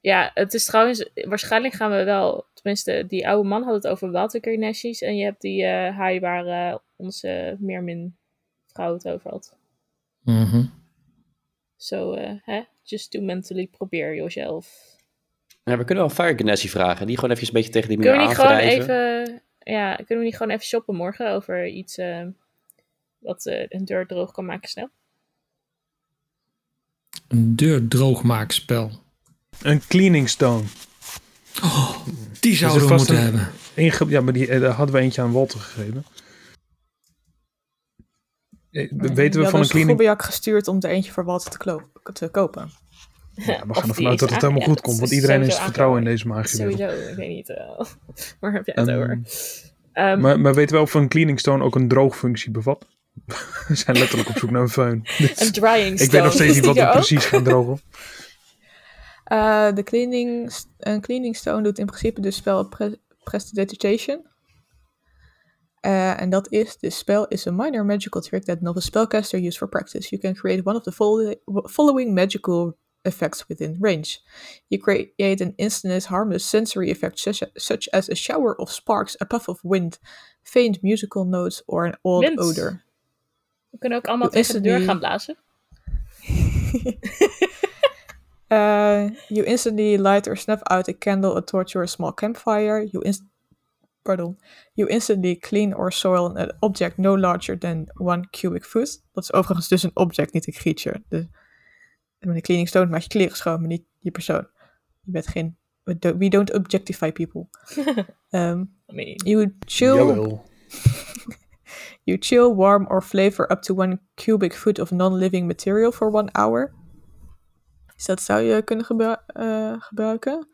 Speaker 4: Ja, het is trouwens, waarschijnlijk gaan we wel, tenminste, die oude man had het over water Kardashians en je hebt die eh haai waar eh, onze Meermin vrouw het over had.
Speaker 2: Mhm.
Speaker 4: Zo, eh, hè? Just to mentally probeer yourself.
Speaker 3: Ja, we kunnen wel Fire Ganassi vragen. Die gewoon even een beetje tegen die muur
Speaker 4: Kunnen we niet gewoon
Speaker 3: aanwrijven.
Speaker 4: even, ja, kunnen we niet gewoon even shoppen morgen over iets eh, wat eh, een deur droog kan maken snel?
Speaker 2: Een deur droogmaakspel.
Speaker 5: een cleaning stone.
Speaker 2: Oh, Die zouden we
Speaker 5: vast
Speaker 2: moeten
Speaker 5: een-
Speaker 2: hebben.
Speaker 5: Inge ja, maar die, eh, daar hadden we eentje aan Walter gegeven. Eh,
Speaker 1: Nee, die
Speaker 5: weten we van
Speaker 1: hadden
Speaker 5: een
Speaker 1: ons
Speaker 5: cleaning...
Speaker 1: Grobbejak gestuurd om er eentje voor Walter te, klo- te kopen.
Speaker 5: Ja, we
Speaker 4: Of
Speaker 5: gaan ervan
Speaker 4: die
Speaker 5: uit dat
Speaker 4: is
Speaker 5: het helemaal
Speaker 4: aan-
Speaker 5: goed
Speaker 4: ja,
Speaker 5: komt,
Speaker 4: dat
Speaker 5: want
Speaker 4: is
Speaker 5: iedereen heeft
Speaker 4: sowieso
Speaker 5: vertrouwen in
Speaker 4: aangekomen.
Speaker 5: deze magische wereld.
Speaker 4: Sowieso, ik weet niet. eh, waar heb jij het
Speaker 5: Ehm,
Speaker 4: over? Ehm,
Speaker 5: maar, maar weten we of een cleaning stone ook een droogfunctie bevat? we zijn letterlijk op zoek naar een föhn.
Speaker 4: een drying stone.
Speaker 5: Ik weet nog steeds
Speaker 4: Is
Speaker 5: niet
Speaker 4: die
Speaker 5: wat we
Speaker 4: er ook?
Speaker 5: precies gaan drogen.
Speaker 1: Eh, de cleaning, een cleaning stone doet in principe dus spel pre prestidigitation. Eh, en dat is, this spell is a minor magical trick that novice spellcaster use for practice. You can create one of the fol- following magical effects within range. You create an instantaneous harmless sensory effect such, such as a shower of sparks, a puff of wind, faint musical notes or an old
Speaker 4: Wind.
Speaker 1: odor.
Speaker 4: We kunnen ook allemaal
Speaker 1: Hoe is
Speaker 4: tegen de
Speaker 1: het
Speaker 4: deur
Speaker 1: nu?
Speaker 4: gaan blazen.
Speaker 1: Uh, you instantly light or snuff out a candle, a torch, or a small campfire. You inst- Pardon. You instantly clean or soil an object no larger than one cubic foot. Dat is overigens dus een object, niet een creature. Dus met een cleaning stone maak je kleren schoon, maar niet je persoon. Je bent geen... We don't, we don't objectify people. Um,
Speaker 4: Nee.
Speaker 1: you chill...
Speaker 5: Jawel.
Speaker 1: You chill, warm, or flavor up to one cubic foot of non-living material for one hour. Dus dat zou je kunnen gebru- eh, gebruiken.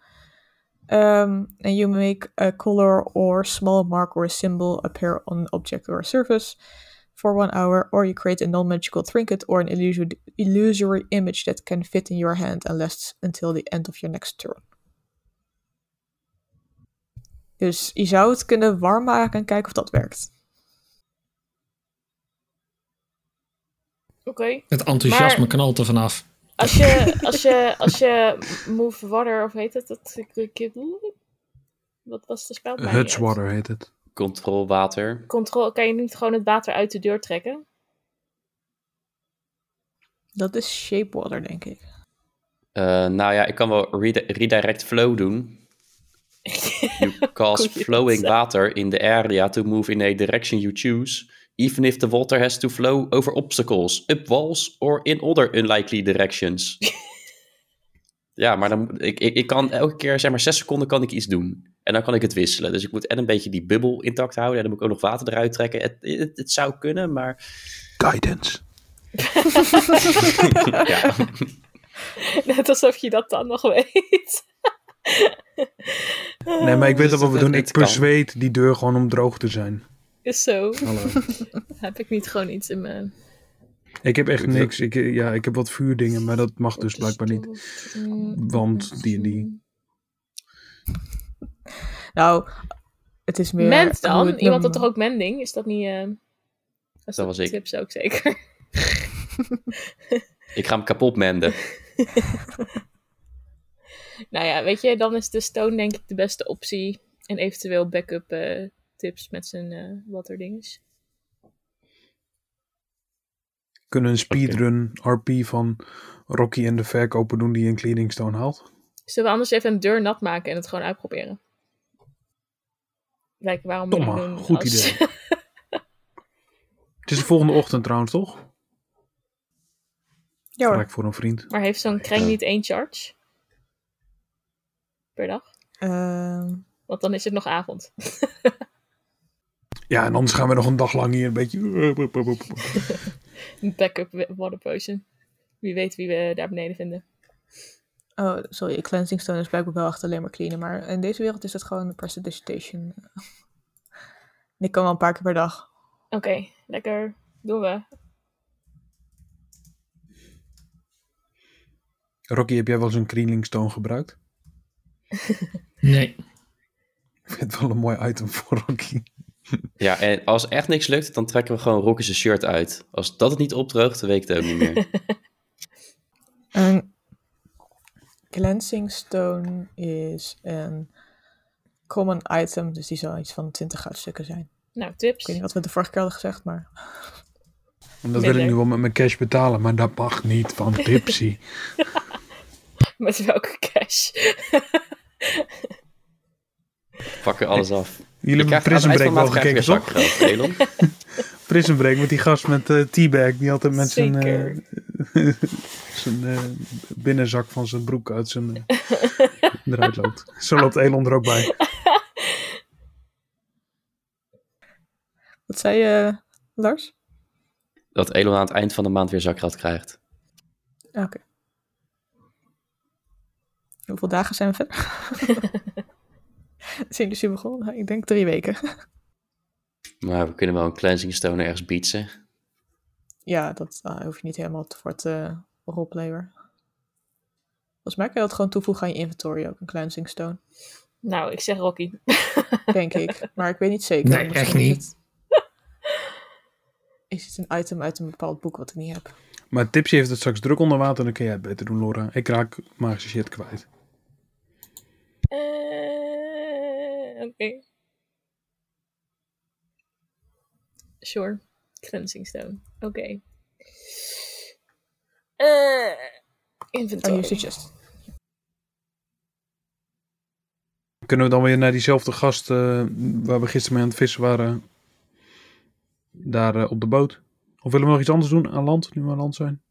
Speaker 1: Ehm, and you make a color or small mark or a symbol appear on an object or a surface for one hour, or you create a non-magical trinket or an illusory, illusory image that can fit in your hand and lasts until the end of your next turn. Dus je zou het kunnen warm maken en kijken of dat werkt.
Speaker 4: Oké.
Speaker 2: Het enthousiasme
Speaker 4: Maar-
Speaker 2: knalt er vanaf.
Speaker 4: Als je, als je, als je move water, of heet het dat? Wat was de spel?
Speaker 5: Hutswater heet het.
Speaker 3: Control water.
Speaker 4: Control, kan je niet gewoon het water uit de deur trekken?
Speaker 1: Dat is shapewater, denk ik.
Speaker 3: Eh, nou ja, ik kan wel redi- redirect flow doen. You cause
Speaker 4: Goeie
Speaker 3: flowing
Speaker 4: zin.
Speaker 3: water in the area to move in a direction you choose, even if the water has to flow over obstacles, up walls, or in other unlikely directions. ja, maar dan, ik, ik, ik kan elke keer, zeg maar, zes seconden kan ik iets doen. En dan kan ik het wisselen. Dus ik moet en een beetje die bubbel intact houden, en dan moet ik ook nog water eruit trekken. Het, het, het zou kunnen, maar
Speaker 5: Guidance.
Speaker 3: ja.
Speaker 4: Net alsof je dat dan nog weet.
Speaker 5: Nee, maar ik weet
Speaker 3: Dus
Speaker 5: al wat we
Speaker 3: dat-
Speaker 5: doen.
Speaker 3: dat
Speaker 5: Ik
Speaker 3: kan.
Speaker 5: persuade die deur gewoon om droog te zijn.
Speaker 4: Is Dus zo.
Speaker 5: Hallo.
Speaker 4: Heb ik niet gewoon iets in mijn...
Speaker 5: Ik heb echt
Speaker 3: Ik wil-
Speaker 5: niks. Ik, eh, ja, ik heb wat vuurdingen, maar dat mag dus blijkbaar niet.
Speaker 4: Mm.
Speaker 5: Want die en die.
Speaker 1: Nou, het is meer...
Speaker 4: Mend
Speaker 1: hoe
Speaker 4: dan?
Speaker 1: het
Speaker 4: Iemand
Speaker 1: noemen.
Speaker 4: had toch ook mending? Is dat niet... eh was
Speaker 3: Dat was ik.
Speaker 4: Tips ook zeker.
Speaker 3: ik ga hem kapot menden.
Speaker 4: nou ja, weet je, dan is de stone denk ik de beste optie. En eventueel backup eh, tips met zijn eh water dinges.
Speaker 5: Kunnen een speedrun RP van Rocky en de verkoper doen die een cleaning stone haalt?
Speaker 4: Zullen we anders even een deur nat maken en het gewoon uitproberen? Kijk, waarom we
Speaker 5: Tomma,
Speaker 4: dat doen
Speaker 5: goed
Speaker 4: als-
Speaker 5: idee. Het is de volgende ochtend trouwens, toch?
Speaker 1: Ja hoor.
Speaker 5: Vaak voor een vriend.
Speaker 4: maar heeft zo'n kreng niet één charge? Per dag?
Speaker 1: Ehm,
Speaker 4: Want dan is het nog avond.
Speaker 5: Ja, en anders gaan we nog een dag lang hier een beetje.
Speaker 4: Een backup wa- water potion. Wie weet wie we daar beneden vinden.
Speaker 1: oh, sorry. Cleansing stone is blijkbaar wel echt alleen maar cleanen. Maar in deze wereld is dat gewoon de prestidigitation. En Ik kan wel een paar keer per dag.
Speaker 4: Oké, lekker. Doen we.
Speaker 5: Rocky, heb jij wel eens een cleaning stone gebruikt?
Speaker 2: Nee.
Speaker 5: Ik vind het wel een mooi item voor Rocky.
Speaker 3: Ja, en als echt niks lukt, dan trekken we gewoon Rocky zijn shirt uit. Als dat het niet opdroogt, dan weet ik het ook niet meer.
Speaker 1: Een cleansing stone is een common item. Dus die zal iets van 20 goudstukken zijn.
Speaker 4: Nou,
Speaker 1: Ik
Speaker 4: tips.
Speaker 1: weet niet wat we de vorige keer hadden gezegd, maar...
Speaker 5: En dat wil ik
Speaker 4: Minder.
Speaker 5: nu wel met mijn cash betalen, maar dat mag niet van Tipsy.
Speaker 4: Met welke cash?
Speaker 3: Pak er alles af.
Speaker 5: Jullie hebben Prison Break wel gekeken, toch?
Speaker 3: Elon.
Speaker 5: Prison Break met die gast met eh teabag. Die altijd met zijn, eh,
Speaker 4: Zeker.
Speaker 5: zijn eh, binnenzak van zijn broek uit zijn eh, eruit loopt. Zo loopt Elon er ook bij.
Speaker 1: Wat zei je, Lars?
Speaker 3: Dat Elon aan het eind van de maand weer zakrat krijgt.
Speaker 1: Oké. Hoeveel dagen zijn we verder? Zijn jullie super begonnen? Ik denk drie weken.
Speaker 3: Maar we kunnen wel een cleansing stone ergens bietsen.
Speaker 1: Ja, dat eh, hoef je niet helemaal te- voor te roleplayer. Volgens mij kan je dat gewoon toevoegen aan je inventory ook, een cleansing stone.
Speaker 4: nou, ik zeg Rocky.
Speaker 1: Denk ik, maar ik weet niet zeker.
Speaker 2: Nee,
Speaker 1: Misschien
Speaker 2: echt niet.
Speaker 1: Is het, is het een item uit een bepaald boek wat ik niet heb?
Speaker 5: Maar Tipsy heeft het straks druk onder water. Dan kun jij het beter doen, Laura. Ik raak magische shit kwijt.
Speaker 4: Eh, Oké. Sure. Cleansing stone. Oké. Eh,
Speaker 1: Are you
Speaker 4: inventory.
Speaker 1: suggest?
Speaker 5: Kunnen we dan weer naar diezelfde gast eh, waar we gisteren mee aan het vissen waren, daar eh, op de boot? Of willen we nog iets anders doen aan land, nu we aan land zijn?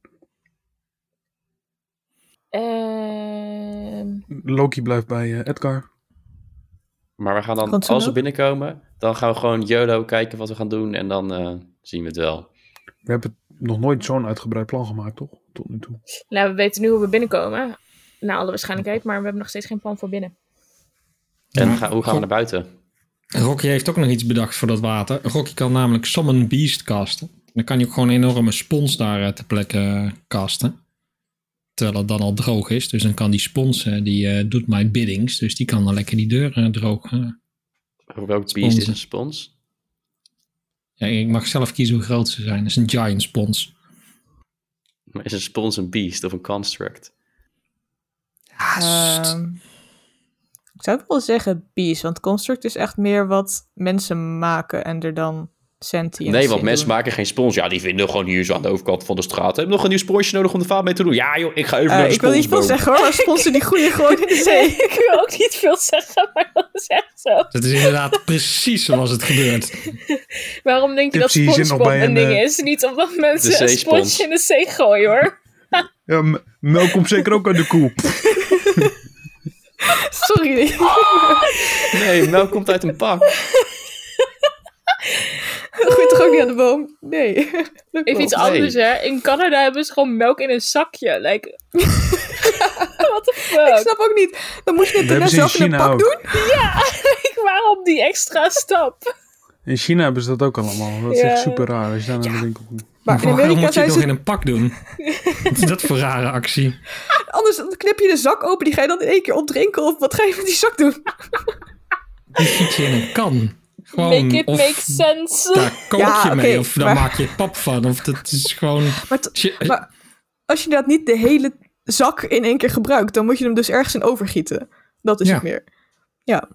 Speaker 4: Ehm,
Speaker 5: Loki blijft bij eh, Edgar.
Speaker 3: Maar we gaan dan,
Speaker 1: Consumer?
Speaker 3: als we binnenkomen, dan gaan we gewoon YOLO kijken wat we gaan doen en dan eh, zien we het wel.
Speaker 5: We hebben nog nooit zo'n uitgebreid plan gemaakt, toch? Tot nu toe.
Speaker 4: nou, we weten nu hoe we binnenkomen. Naar alle waarschijnlijkheid, maar we hebben nog steeds geen plan voor binnen.
Speaker 3: En
Speaker 2: Ja.
Speaker 3: ga- hoe gaan we naar buiten?
Speaker 2: Rocky heeft ook nog iets bedacht voor dat water. Rocky kan namelijk Summon Beast casten. Dan kan hij ook gewoon een enorme spons daar eh, ter plekke eh, casten. Terwijl het dan al droog is. Dus dan kan die spons, eh, die eh, doet mijn biddings. Dus die kan dan lekker die deur eh, droog. eh.
Speaker 3: Welk beest
Speaker 2: Sponsen.
Speaker 3: is een spons?
Speaker 2: Ja, ik mag zelf kiezen hoe groot ze zijn. Dat is een giant spons.
Speaker 3: Maar Is een spons een beest of een construct?
Speaker 1: Ehm, ik zou ook wel zeggen bees, want construct is echt meer wat mensen maken en er dan sentient
Speaker 3: nee,
Speaker 1: in
Speaker 3: want mensen
Speaker 1: doen.
Speaker 3: maken geen spons. Ja, die vinden gewoon hier zo aan de overkant van de straat. Hebben we nog een nieuw sponsje nodig om de vaat mee te doen? Ja joh, ik ga even
Speaker 1: Eh,
Speaker 3: naar de
Speaker 1: ik wil niet veel
Speaker 3: sponsboom.
Speaker 1: zeggen hoor, maar sponsen die groeien gewoon in de
Speaker 4: Nee,
Speaker 1: zee.
Speaker 4: Dus, eh, ik wil ook niet veel zeggen, maar dat is echt zo.
Speaker 2: Dat is inderdaad precies zoals het gebeurt.
Speaker 4: Waarom denk je dat
Speaker 5: Tipsy is er nog
Speaker 4: SpongeBob
Speaker 5: bij
Speaker 4: een,
Speaker 5: een,
Speaker 4: ding
Speaker 5: eh,
Speaker 4: is? Niet omdat mensen een
Speaker 3: zeespons.
Speaker 4: sponsje in de zee gooien, hoor.
Speaker 5: Ja, M- melk komt zeker ook uit de koe.
Speaker 1: Sorry.
Speaker 3: Nee, melk komt uit een pak.
Speaker 1: Dat groeit toch ook niet aan de boom? Nee. Dat klopt.
Speaker 4: Even iets
Speaker 3: Nee.
Speaker 4: anders, hè. In Canada hebben ze gewoon melk in een zakje. Like... What the
Speaker 1: Ik
Speaker 4: fuck?
Speaker 1: snap ook niet. Dan moet je
Speaker 5: We
Speaker 1: het daarna
Speaker 5: hebben ze in
Speaker 1: zelf in een
Speaker 5: China
Speaker 1: pak
Speaker 5: ook.
Speaker 1: doen?
Speaker 4: Ik waarom die extra stap?
Speaker 5: In China hebben ze dat ook allemaal. Dat is echt
Speaker 4: Ja.
Speaker 5: super raar als je daar naar de winkel komt.
Speaker 1: Maar in
Speaker 2: waarom
Speaker 1: Amerika
Speaker 2: moet je het
Speaker 1: zijn
Speaker 2: nog in
Speaker 1: ze...
Speaker 2: een pak doen? Wat is dat voor rare actie?
Speaker 1: Anders dan knip je de zak open, die ga je dan in één keer opdrinken. Of wat ga je met die zak doen?
Speaker 2: Die giet je in een kan. Gewoon,
Speaker 4: Make it
Speaker 2: of
Speaker 4: make sense.
Speaker 2: daar kook je
Speaker 1: Ja, oké,
Speaker 2: mee. of daar
Speaker 1: maar-
Speaker 2: maak je pap van. Of dat is gewoon...
Speaker 1: Maar, t-
Speaker 2: Tje- eh,
Speaker 1: maar als je inderdaad niet de hele zak in één keer gebruikt, dan moet je hem dus ergens in overgieten. Dat is
Speaker 2: Ja.
Speaker 1: het meer. Ja.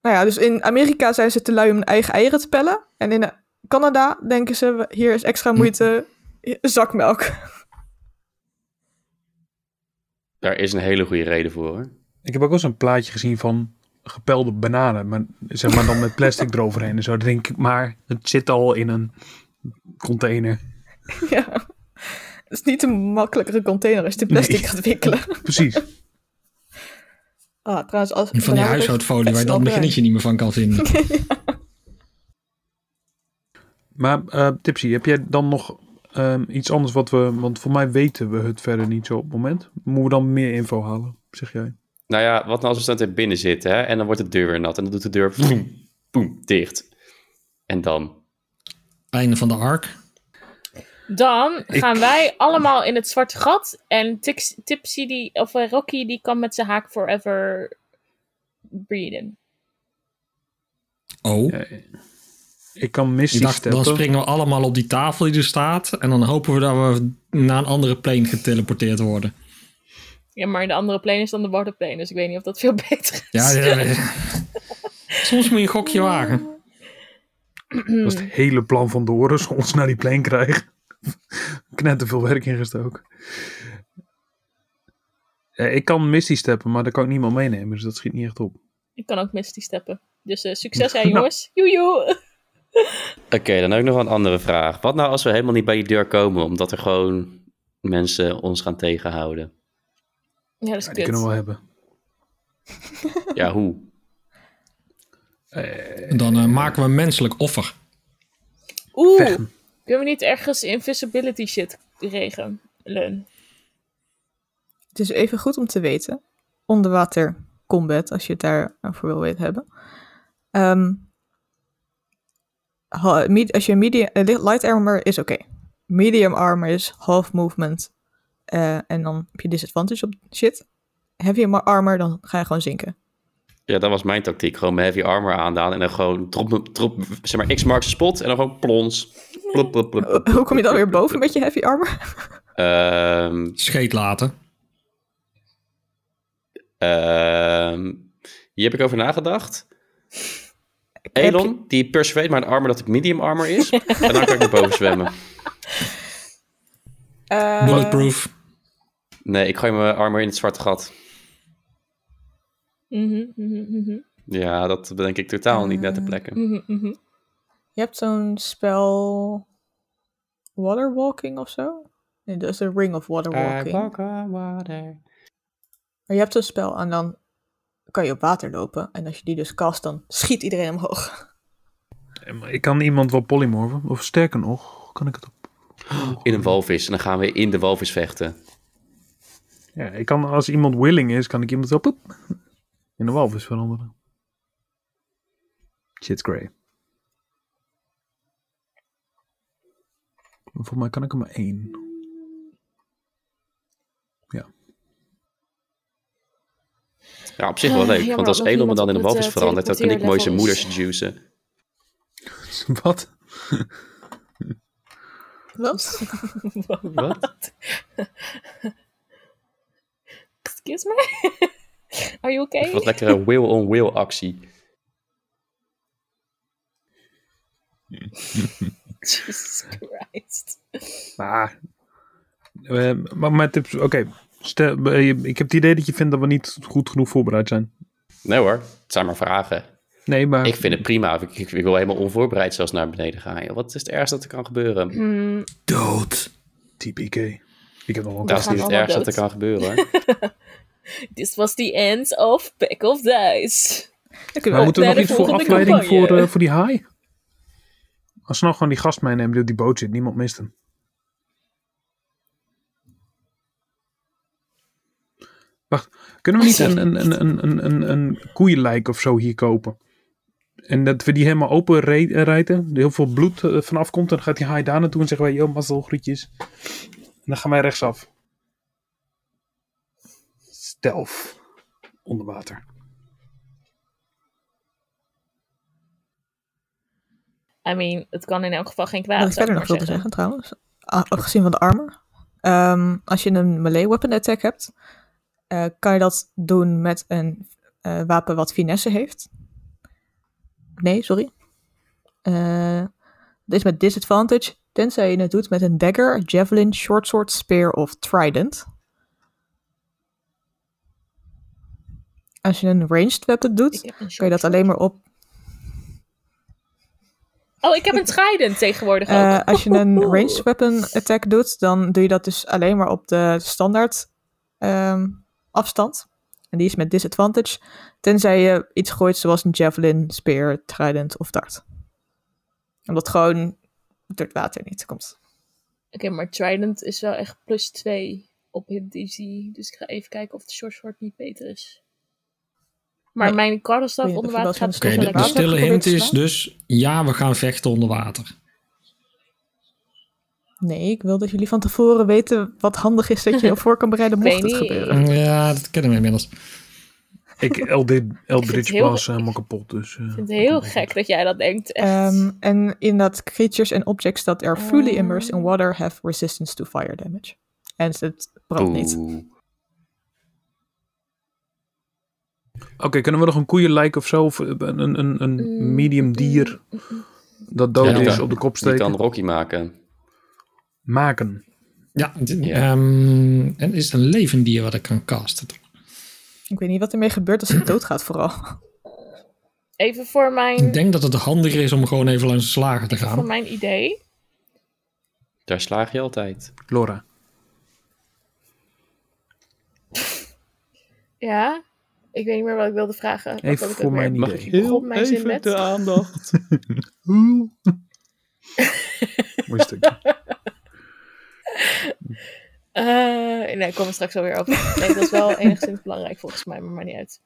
Speaker 1: Nou ja, dus in Amerika zijn ze te lui om hun eigen eieren te pellen. En in eh, Canada denken ze, we- hier is extra
Speaker 2: Hm.
Speaker 1: moeite, eh, zakmelk.
Speaker 3: Daar is een hele goede reden voor. hoor.
Speaker 5: Ik heb ook wel eens een plaatje gezien van gepelde bananen. Maar, zeg maar dan met plastic eroverheen en zo. Dan denk ik, maar het zit al in een container.
Speaker 1: ja. Het is niet een makkelijkere container als je de plastic
Speaker 5: Nee.
Speaker 1: gaat wikkelen.
Speaker 5: Precies.
Speaker 1: Ah, trouwens, als,
Speaker 2: Van die huishoudfolie waar je dan het beginnetje niet meer van kan vinden.
Speaker 5: Maar eh, Tipsy, heb jij dan nog ehm, iets anders wat we... Want voor mij weten we het verder niet zo op het moment. Moeten we dan meer info halen, zeg jij?
Speaker 3: Nou ja, wat nou als we zo meteen binnen zitten hè? en dan wordt de deur weer nat en dan doet de deur vroom, boem, dicht. En dan?
Speaker 2: Einde van de ark.
Speaker 4: Dan
Speaker 5: Ik-
Speaker 4: gaan wij allemaal in het zwarte gat. En Tix- Tipsy, die, of eh, Rocky, die kan met zijn haak forever breeden.
Speaker 2: Oh.
Speaker 5: Ja, ik kan
Speaker 2: Ik
Speaker 5: misty
Speaker 2: dacht, dan
Speaker 5: steppen.
Speaker 2: springen we allemaal op die tafel die er staat. En dan hopen we dat we naar een andere plane geteleporteerd worden.
Speaker 4: Ja, maar de andere plane is dan de waterplane. Dus ik weet niet of dat veel beter is.
Speaker 2: Ja, ja, ja. soms moet je een gokje wagen.
Speaker 5: Dat is het hele plan van Doris. Ons naar die plane krijgen. Knetter veel werk ingestoken. Ja, ik kan misty steppen, maar daar kan ik niemand meenemen. Dus dat schiet niet echt op.
Speaker 4: Ik kan ook Misty steppen. Dus eh, succes, hè, jongens. Joejoe.
Speaker 3: Oké, dan heb ik nog een andere vraag. Wat nou als we helemaal niet bij die deur komen omdat er gewoon mensen ons gaan tegenhouden?
Speaker 4: Ja, dat is
Speaker 5: Ja, die
Speaker 4: kut.
Speaker 5: kunnen we wel hebben.
Speaker 3: Ja, hoe?
Speaker 2: Dan eh, maken we een menselijk offer.
Speaker 4: Oeh,
Speaker 5: Vechten.
Speaker 4: kunnen we niet ergens invisibility shit regelen?
Speaker 1: Het is even goed om te weten. Onderwater combat, als je het daarover wil weten hebben. Ehm, ha- med- als je medium, eh, li- light armor is oké. Medium armor is half movement. eh, en dan heb je disadvantage op shit. Heavy ma- armor, dan ga je gewoon zinken.
Speaker 3: Ja, dat was mijn tactiek. Gewoon mijn heavy armor aandaan en dan gewoon drop, drop zeg maar, X marks the spot en dan gewoon plons. Plop, plop, plop, plop.
Speaker 1: Hoe kom je dan weer boven met je heavy armor?
Speaker 3: Ehm,
Speaker 2: Scheet laten.
Speaker 3: ehm, hier heb ik over nagedacht.
Speaker 1: Heb
Speaker 3: Elon, die persuade mijn armor dat het medium armor is. en dan kan ik naar boven zwemmen.
Speaker 1: Eh,
Speaker 2: Bulletproof.
Speaker 3: Nee, ik gooi mijn armor in het zwarte gat.
Speaker 4: Mhm, mhm, mhm,
Speaker 3: Ja, dat denk ik totaal niet net de plekken.
Speaker 4: mhm, mhm.
Speaker 1: Je hebt zo'n spel. Waterwalking of zo? Nee, dat is de Ring of Waterwalking. Maar je hebt zo'n spel en dan kan je op water lopen. En als je die dus cast, dan schiet iedereen omhoog.
Speaker 5: Eh, maar Ik kan iemand wel polymorfen. Of sterker nog, kan ik het op...
Speaker 3: In een walvis. En dan gaan we in de walvis vechten.
Speaker 5: Ja, ik kan, als iemand willing is, kan ik iemand wel poep, in de walvis veranderen. Shit grey. Volgens mij kan ik er maar één.
Speaker 3: Ja, op zich wel
Speaker 4: Ah,
Speaker 3: leuk.
Speaker 4: jammer
Speaker 3: want als
Speaker 4: dat nog
Speaker 3: Elon dan in
Speaker 4: iemand
Speaker 3: een
Speaker 4: op
Speaker 3: walvis
Speaker 4: het, eh,
Speaker 3: verandert, dan kan ik mooi zijn
Speaker 4: teleporteerlevel
Speaker 3: moeders juicen.
Speaker 5: Wat?
Speaker 1: Wat?
Speaker 3: Wat?
Speaker 4: Excuse me? Are you okay?
Speaker 3: Wat lekkere will-on-will actie.
Speaker 4: Jesus Christ.
Speaker 5: Maar, eh, maar mijn tips, oké. Stel, eh, je- Ik heb het idee dat je vindt dat we niet goed genoeg voorbereid zijn.
Speaker 3: Nee hoor, het zijn maar vragen.
Speaker 5: Nee, maar
Speaker 3: Ik vind het prima. Ik, ik, ik wil helemaal onvoorbereid zelfs naar beneden gaan. joh. Wat is het ergste dat er kan gebeuren?
Speaker 4: Hmm,
Speaker 2: Dood.
Speaker 5: TPK. Ik heb nog wel
Speaker 3: Dat is
Speaker 4: gaan
Speaker 3: niet het
Speaker 4: allemaal
Speaker 3: ergste dat er
Speaker 4: dood.
Speaker 3: kan gebeuren. hoor.
Speaker 4: This was the end of Pack of Dice.
Speaker 5: Maar moeten we
Speaker 4: Bij
Speaker 5: nog
Speaker 4: de
Speaker 5: iets voor
Speaker 4: volgende
Speaker 5: afleiding voor,
Speaker 4: campagne.
Speaker 5: eh, voor die haai? Als ze nou gewoon die gast meenemen die op die boot zit, niemand mist hem. Wacht, kunnen we niet een, een, een, een, een, een, een koeienlijk of zo hier kopen? En dat we die helemaal open re- eh, rijden, er heel veel bloed eh, vanaf komt, en dan gaat die haai daar naartoe en zeggen wij, yo, mazzel, groetjes. En dan gaan wij rechtsaf. Stelf. Onder water.
Speaker 4: I mean, het kan in elk geval geen kwaad.
Speaker 1: Wat ik
Speaker 4: zou
Speaker 1: verder nog
Speaker 4: maar
Speaker 1: wilde zeggen, trouwens. a- Afgezien van de armor. Ehm, als je een melee weapon attack hebt, eh, kan je dat doen met een eh, wapen wat finesse heeft. Nee, sorry. Eh, dit is met disadvantage, tenzij je het doet met een dagger, javelin, short sword, spear of trident. Als je een ranged weapon doet,
Speaker 4: Ik heb een
Speaker 1: kan je dat alleen maar op
Speaker 4: Oh, ik heb een trident tegenwoordig ook.
Speaker 1: Eh, als je een ranged weapon attack doet, dan doe je dat dus alleen maar op de standaard ehm, afstand. En die is met disadvantage. Tenzij je iets gooit zoals een javelin, spear, trident of dart. Omdat gewoon door het water niet komt.
Speaker 4: Oké, maar Trident is wel echt plus 2 op hit DC. Dus ik ga even kijken of de short sword niet beter is. Maar
Speaker 1: Nee.
Speaker 4: mijn
Speaker 1: Oh
Speaker 4: cardinstaaf
Speaker 1: ja,
Speaker 4: onder
Speaker 1: dat
Speaker 4: water
Speaker 1: vind ik wel
Speaker 4: gaat
Speaker 1: zo'n
Speaker 2: Oké,
Speaker 1: Dus wel
Speaker 4: dus
Speaker 2: de, de
Speaker 1: lekker. Water
Speaker 2: stille hint
Speaker 1: geprobeerd
Speaker 2: is
Speaker 1: te
Speaker 2: dus, ja, we gaan vechten onder water.
Speaker 1: Nee, ik wil dat jullie van tevoren weten wat handig is dat je je voor kan bereiden
Speaker 4: Ik
Speaker 1: mocht
Speaker 4: weet
Speaker 1: het
Speaker 4: niet.
Speaker 1: gebeuren.
Speaker 2: Ja, dat kennen we inmiddels.
Speaker 5: Ik Eldid, Eldritch
Speaker 4: heel-
Speaker 5: Blast helemaal kapot, dus... eh,
Speaker 4: Ik vind het heel gek dat jij dat denkt. Echt.
Speaker 1: Ehm, en inderdaad, creatures en objects that are fully
Speaker 4: Ah.
Speaker 1: immersed in water have resistance to fire damage. En het brandt niet.
Speaker 3: Oeh.
Speaker 5: Oké, kunnen we nog een koeienlijk of zo, of een, een, een, een
Speaker 4: Mm,
Speaker 5: medium
Speaker 4: mm,
Speaker 5: dier
Speaker 4: mm, mm.
Speaker 5: dat dood
Speaker 2: Ja,
Speaker 5: is
Speaker 2: ja.
Speaker 5: op de kop
Speaker 3: Die
Speaker 5: steken?
Speaker 3: kan Rocky maken.
Speaker 5: Maken.
Speaker 2: Ja, d-
Speaker 3: Ja.
Speaker 2: ehm, en is het een levend dier wat ik kan casten?
Speaker 1: Ik weet niet wat ermee gebeurt als het doodgaat vooral.
Speaker 4: Even voor mijn,
Speaker 2: Ik denk dat het handiger is om gewoon even langs de slager te
Speaker 4: voor
Speaker 2: gaan.
Speaker 4: mijn idee.
Speaker 3: Daar slaag je altijd.
Speaker 5: Laura.
Speaker 4: Ja, ik weet niet meer wat ik wilde vragen. Wat
Speaker 5: Even
Speaker 4: had ik ook
Speaker 5: voor
Speaker 4: weer?
Speaker 5: mijn
Speaker 3: Mag
Speaker 5: idee.
Speaker 3: ik heel
Speaker 4: Op mijn zin
Speaker 3: even
Speaker 4: met.
Speaker 3: de aandacht?
Speaker 5: Mooi stukje.
Speaker 4: Eh, nee, ik kom er straks alweer op. Nee, dat is wel enigszins belangrijk volgens mij, maar maakt niet uit.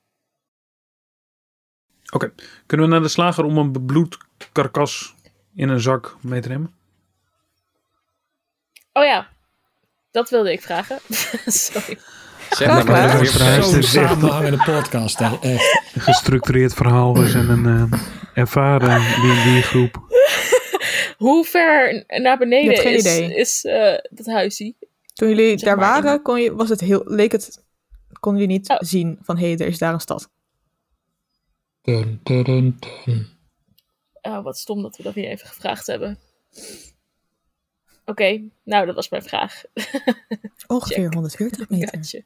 Speaker 5: Kunnen we naar de slager om een bebloed karkas in een zak mee te nemen?
Speaker 4: Oh ja, dat wilde ik vragen. Sorry.
Speaker 3: Zeg maar,
Speaker 1: gedaan.
Speaker 3: maar
Speaker 5: Dat
Speaker 3: dat
Speaker 5: is
Speaker 3: is weer
Speaker 5: waar.
Speaker 3: precies-
Speaker 2: Zo'n
Speaker 5: Luister, zeg.
Speaker 2: samenhangende podcast. hè, Echt.
Speaker 5: Gestructureerd verhaal, we zijn een eh, ervaren D&D-groep.
Speaker 4: Hoe ver naar beneden
Speaker 1: Je hebt geen
Speaker 4: is,
Speaker 1: idee.
Speaker 4: is eh, dat huisje?
Speaker 1: Toen jullie
Speaker 4: Zeg
Speaker 1: daar
Speaker 4: maar,
Speaker 1: waren, kon je, was het heel, leek het, kon je niet
Speaker 4: Oh.
Speaker 1: zien van hé, hey, er is daar een stad.
Speaker 2: Dun, dun, dun, dun.
Speaker 4: Oh, wat stom dat we dat niet even gevraagd hebben. Oké, nou dat was mijn vraag.
Speaker 1: Ongeveer
Speaker 4: Check.
Speaker 1: 140 meter.
Speaker 4: Gaatje.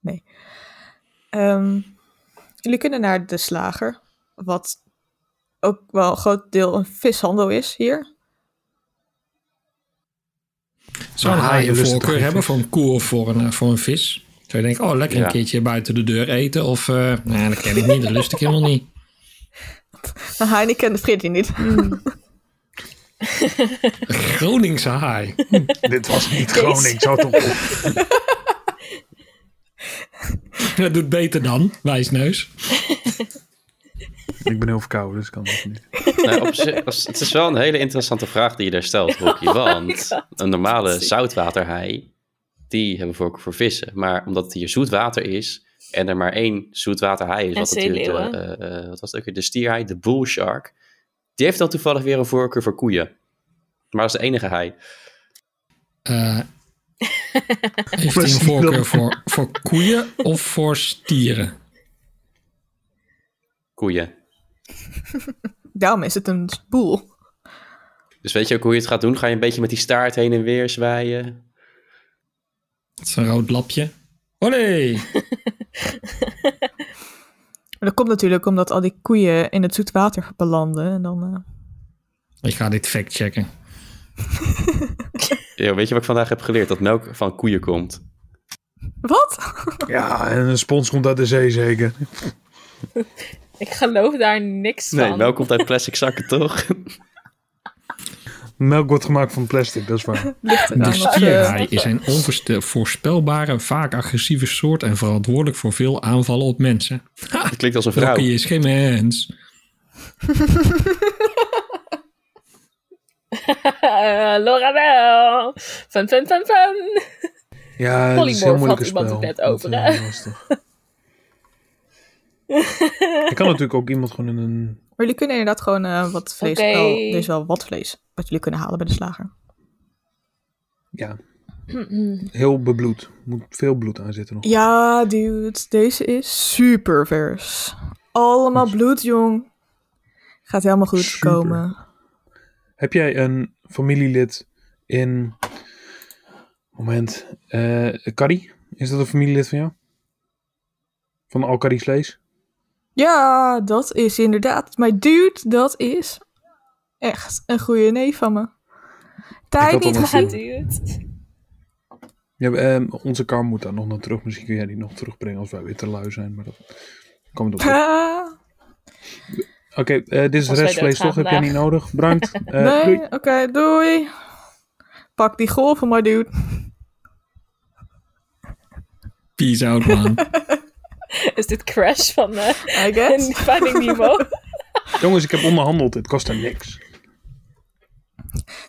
Speaker 1: Nee. Ehm, jullie kunnen naar de slager, wat ook wel een groot deel een vishandel is hier.
Speaker 2: Zou een
Speaker 5: Maar
Speaker 2: haai een
Speaker 5: haaien lusten
Speaker 2: voorkeur
Speaker 5: toch
Speaker 2: hebben
Speaker 5: geen
Speaker 2: voor een koe of voor een, eh, voor een vis? Zou je denken, oh, lekker
Speaker 3: Ja.
Speaker 2: een keertje buiten de deur eten? Of, eh nee, dat ken ik niet, dat lust ik helemaal niet.
Speaker 1: Maar hij en ik kennen Freddy niet.
Speaker 2: Groningse haai.
Speaker 5: Dit was niet Groningen, zo toch op.
Speaker 2: Dat doet beter dan, wijsneus.
Speaker 5: Ik ben heel verkouden, dus ik kan dat niet.
Speaker 3: Nou, op zich- als- het is wel een hele interessante vraag die je daar stelt,
Speaker 4: Oh
Speaker 3: Rocky. Want een normale zoutwaterhaai, die hebben voorkeur voor vissen. Maar omdat het hier zoetwater is en er maar één zoetwaterhaai is,
Speaker 4: En
Speaker 3: wat natuurlijk de,
Speaker 4: zeeleeuwen.
Speaker 3: eh, eh, wat was het ook weer, de stierhaai, de bull shark, die heeft dan toevallig weer een voorkeur voor koeien. Maar dat is de enige haai.
Speaker 2: Eh heeft hij
Speaker 5: Voor
Speaker 2: een
Speaker 5: stieren.
Speaker 2: voorkeur voor, voor koeien of voor stieren?
Speaker 3: Koeien.
Speaker 1: Daarom is het een boel.
Speaker 3: Dus weet je ook hoe je het gaat doen? Ga je een beetje met die staart heen en weer zwaaien?
Speaker 2: Het is een rood lapje. Olé!
Speaker 1: Maar dat komt natuurlijk omdat al die koeien in het zoet water belanden. En dan, eh,
Speaker 2: Ik ga dit fact checken.
Speaker 3: Yo, weet je wat ik vandaag heb geleerd? Dat melk van koeien komt.
Speaker 1: Wat?
Speaker 5: Ja, en een spons komt uit de zee zeker.
Speaker 4: Ik geloof daar niks
Speaker 3: Nee,
Speaker 4: van.
Speaker 3: melk komt uit plastic zakken, toch?
Speaker 5: Melk wordt gemaakt van plastic, dat is waar.
Speaker 1: Ligt eraan
Speaker 2: De
Speaker 1: wat, eh,
Speaker 2: stierhaai is een onvoorspelbare, vaak agressieve soort en verantwoordelijk voor veel aanvallen op mensen. Ha!
Speaker 3: Het klinkt als een vrouw.
Speaker 2: Rocky is geen mens.
Speaker 4: Eh, Laura wel. Fun, fun, fun, fun.
Speaker 5: Ja, het is een heel
Speaker 4: Polymorph
Speaker 5: moeilijke
Speaker 4: had iemand het
Speaker 5: spel.
Speaker 4: net over,
Speaker 5: Dat,
Speaker 4: hè?
Speaker 5: eh, lastig. Je kan natuurlijk ook iemand gewoon in een...
Speaker 1: Maar jullie kunnen inderdaad gewoon eh, wat vlees.
Speaker 4: Oké.
Speaker 1: Wel, er is wel wat vlees wat jullie kunnen halen bij de slager.
Speaker 5: Ja, heel bebloed. Moet veel bloed aan zitten nog.
Speaker 1: Ja, dude, deze is super vers. Allemaal bloed, jong. Gaat helemaal goed
Speaker 5: Super.
Speaker 1: komen.
Speaker 5: Heb jij een familielid in... Moment. eh Carrie? Is dat een familielid van jou? Van al Carrie's vlees?
Speaker 1: Ja, dat is inderdaad. Maar dude, dat is echt een goede neef van me. Tijd
Speaker 5: had al
Speaker 1: niet
Speaker 5: een
Speaker 1: gezien.
Speaker 4: Gaat dude.
Speaker 5: Ja, eh, onze kar moet daar nog naar terug. Misschien kun jij die nog terugbrengen als wij weer te lui zijn. Maar dat kan we op.
Speaker 1: Ah,
Speaker 5: Oké, eh, dit is
Speaker 4: Als wij
Speaker 5: restvlees
Speaker 4: doodgaan
Speaker 5: toch? Heb jij niet
Speaker 4: vandaag.
Speaker 5: nodig? Bedankt. Eh,
Speaker 1: nee,
Speaker 5: doei.
Speaker 1: oké, doei. Pak die golven maar, dude.
Speaker 2: Peace out, man.
Speaker 4: Is dit Crash van eh
Speaker 1: I guess.
Speaker 4: Finding Nemo?
Speaker 5: Jongens, ik heb onderhandeld. Het kost hem niks.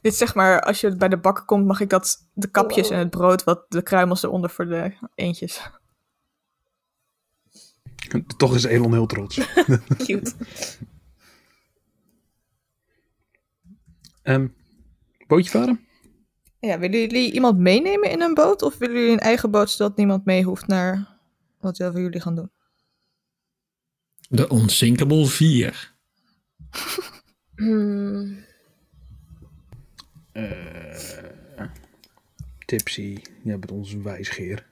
Speaker 1: Dit zeg maar, als je bij de bakker komt, mag ik dat de kapjes
Speaker 4: Wow.
Speaker 1: en het brood, wat de kruimels eronder voor de eentjes.
Speaker 5: Toch is Elon heel trots.
Speaker 4: Cute.
Speaker 5: Ehm, bootje varen?
Speaker 1: Ja, willen jullie iemand meenemen in een boot? Of willen jullie een eigen boot zodat niemand mee hoeft naar wat willen jullie gaan doen?
Speaker 2: De Unsinkable 4.
Speaker 4: Hmm,
Speaker 5: Tipsy, jij bent onze wijsgeer.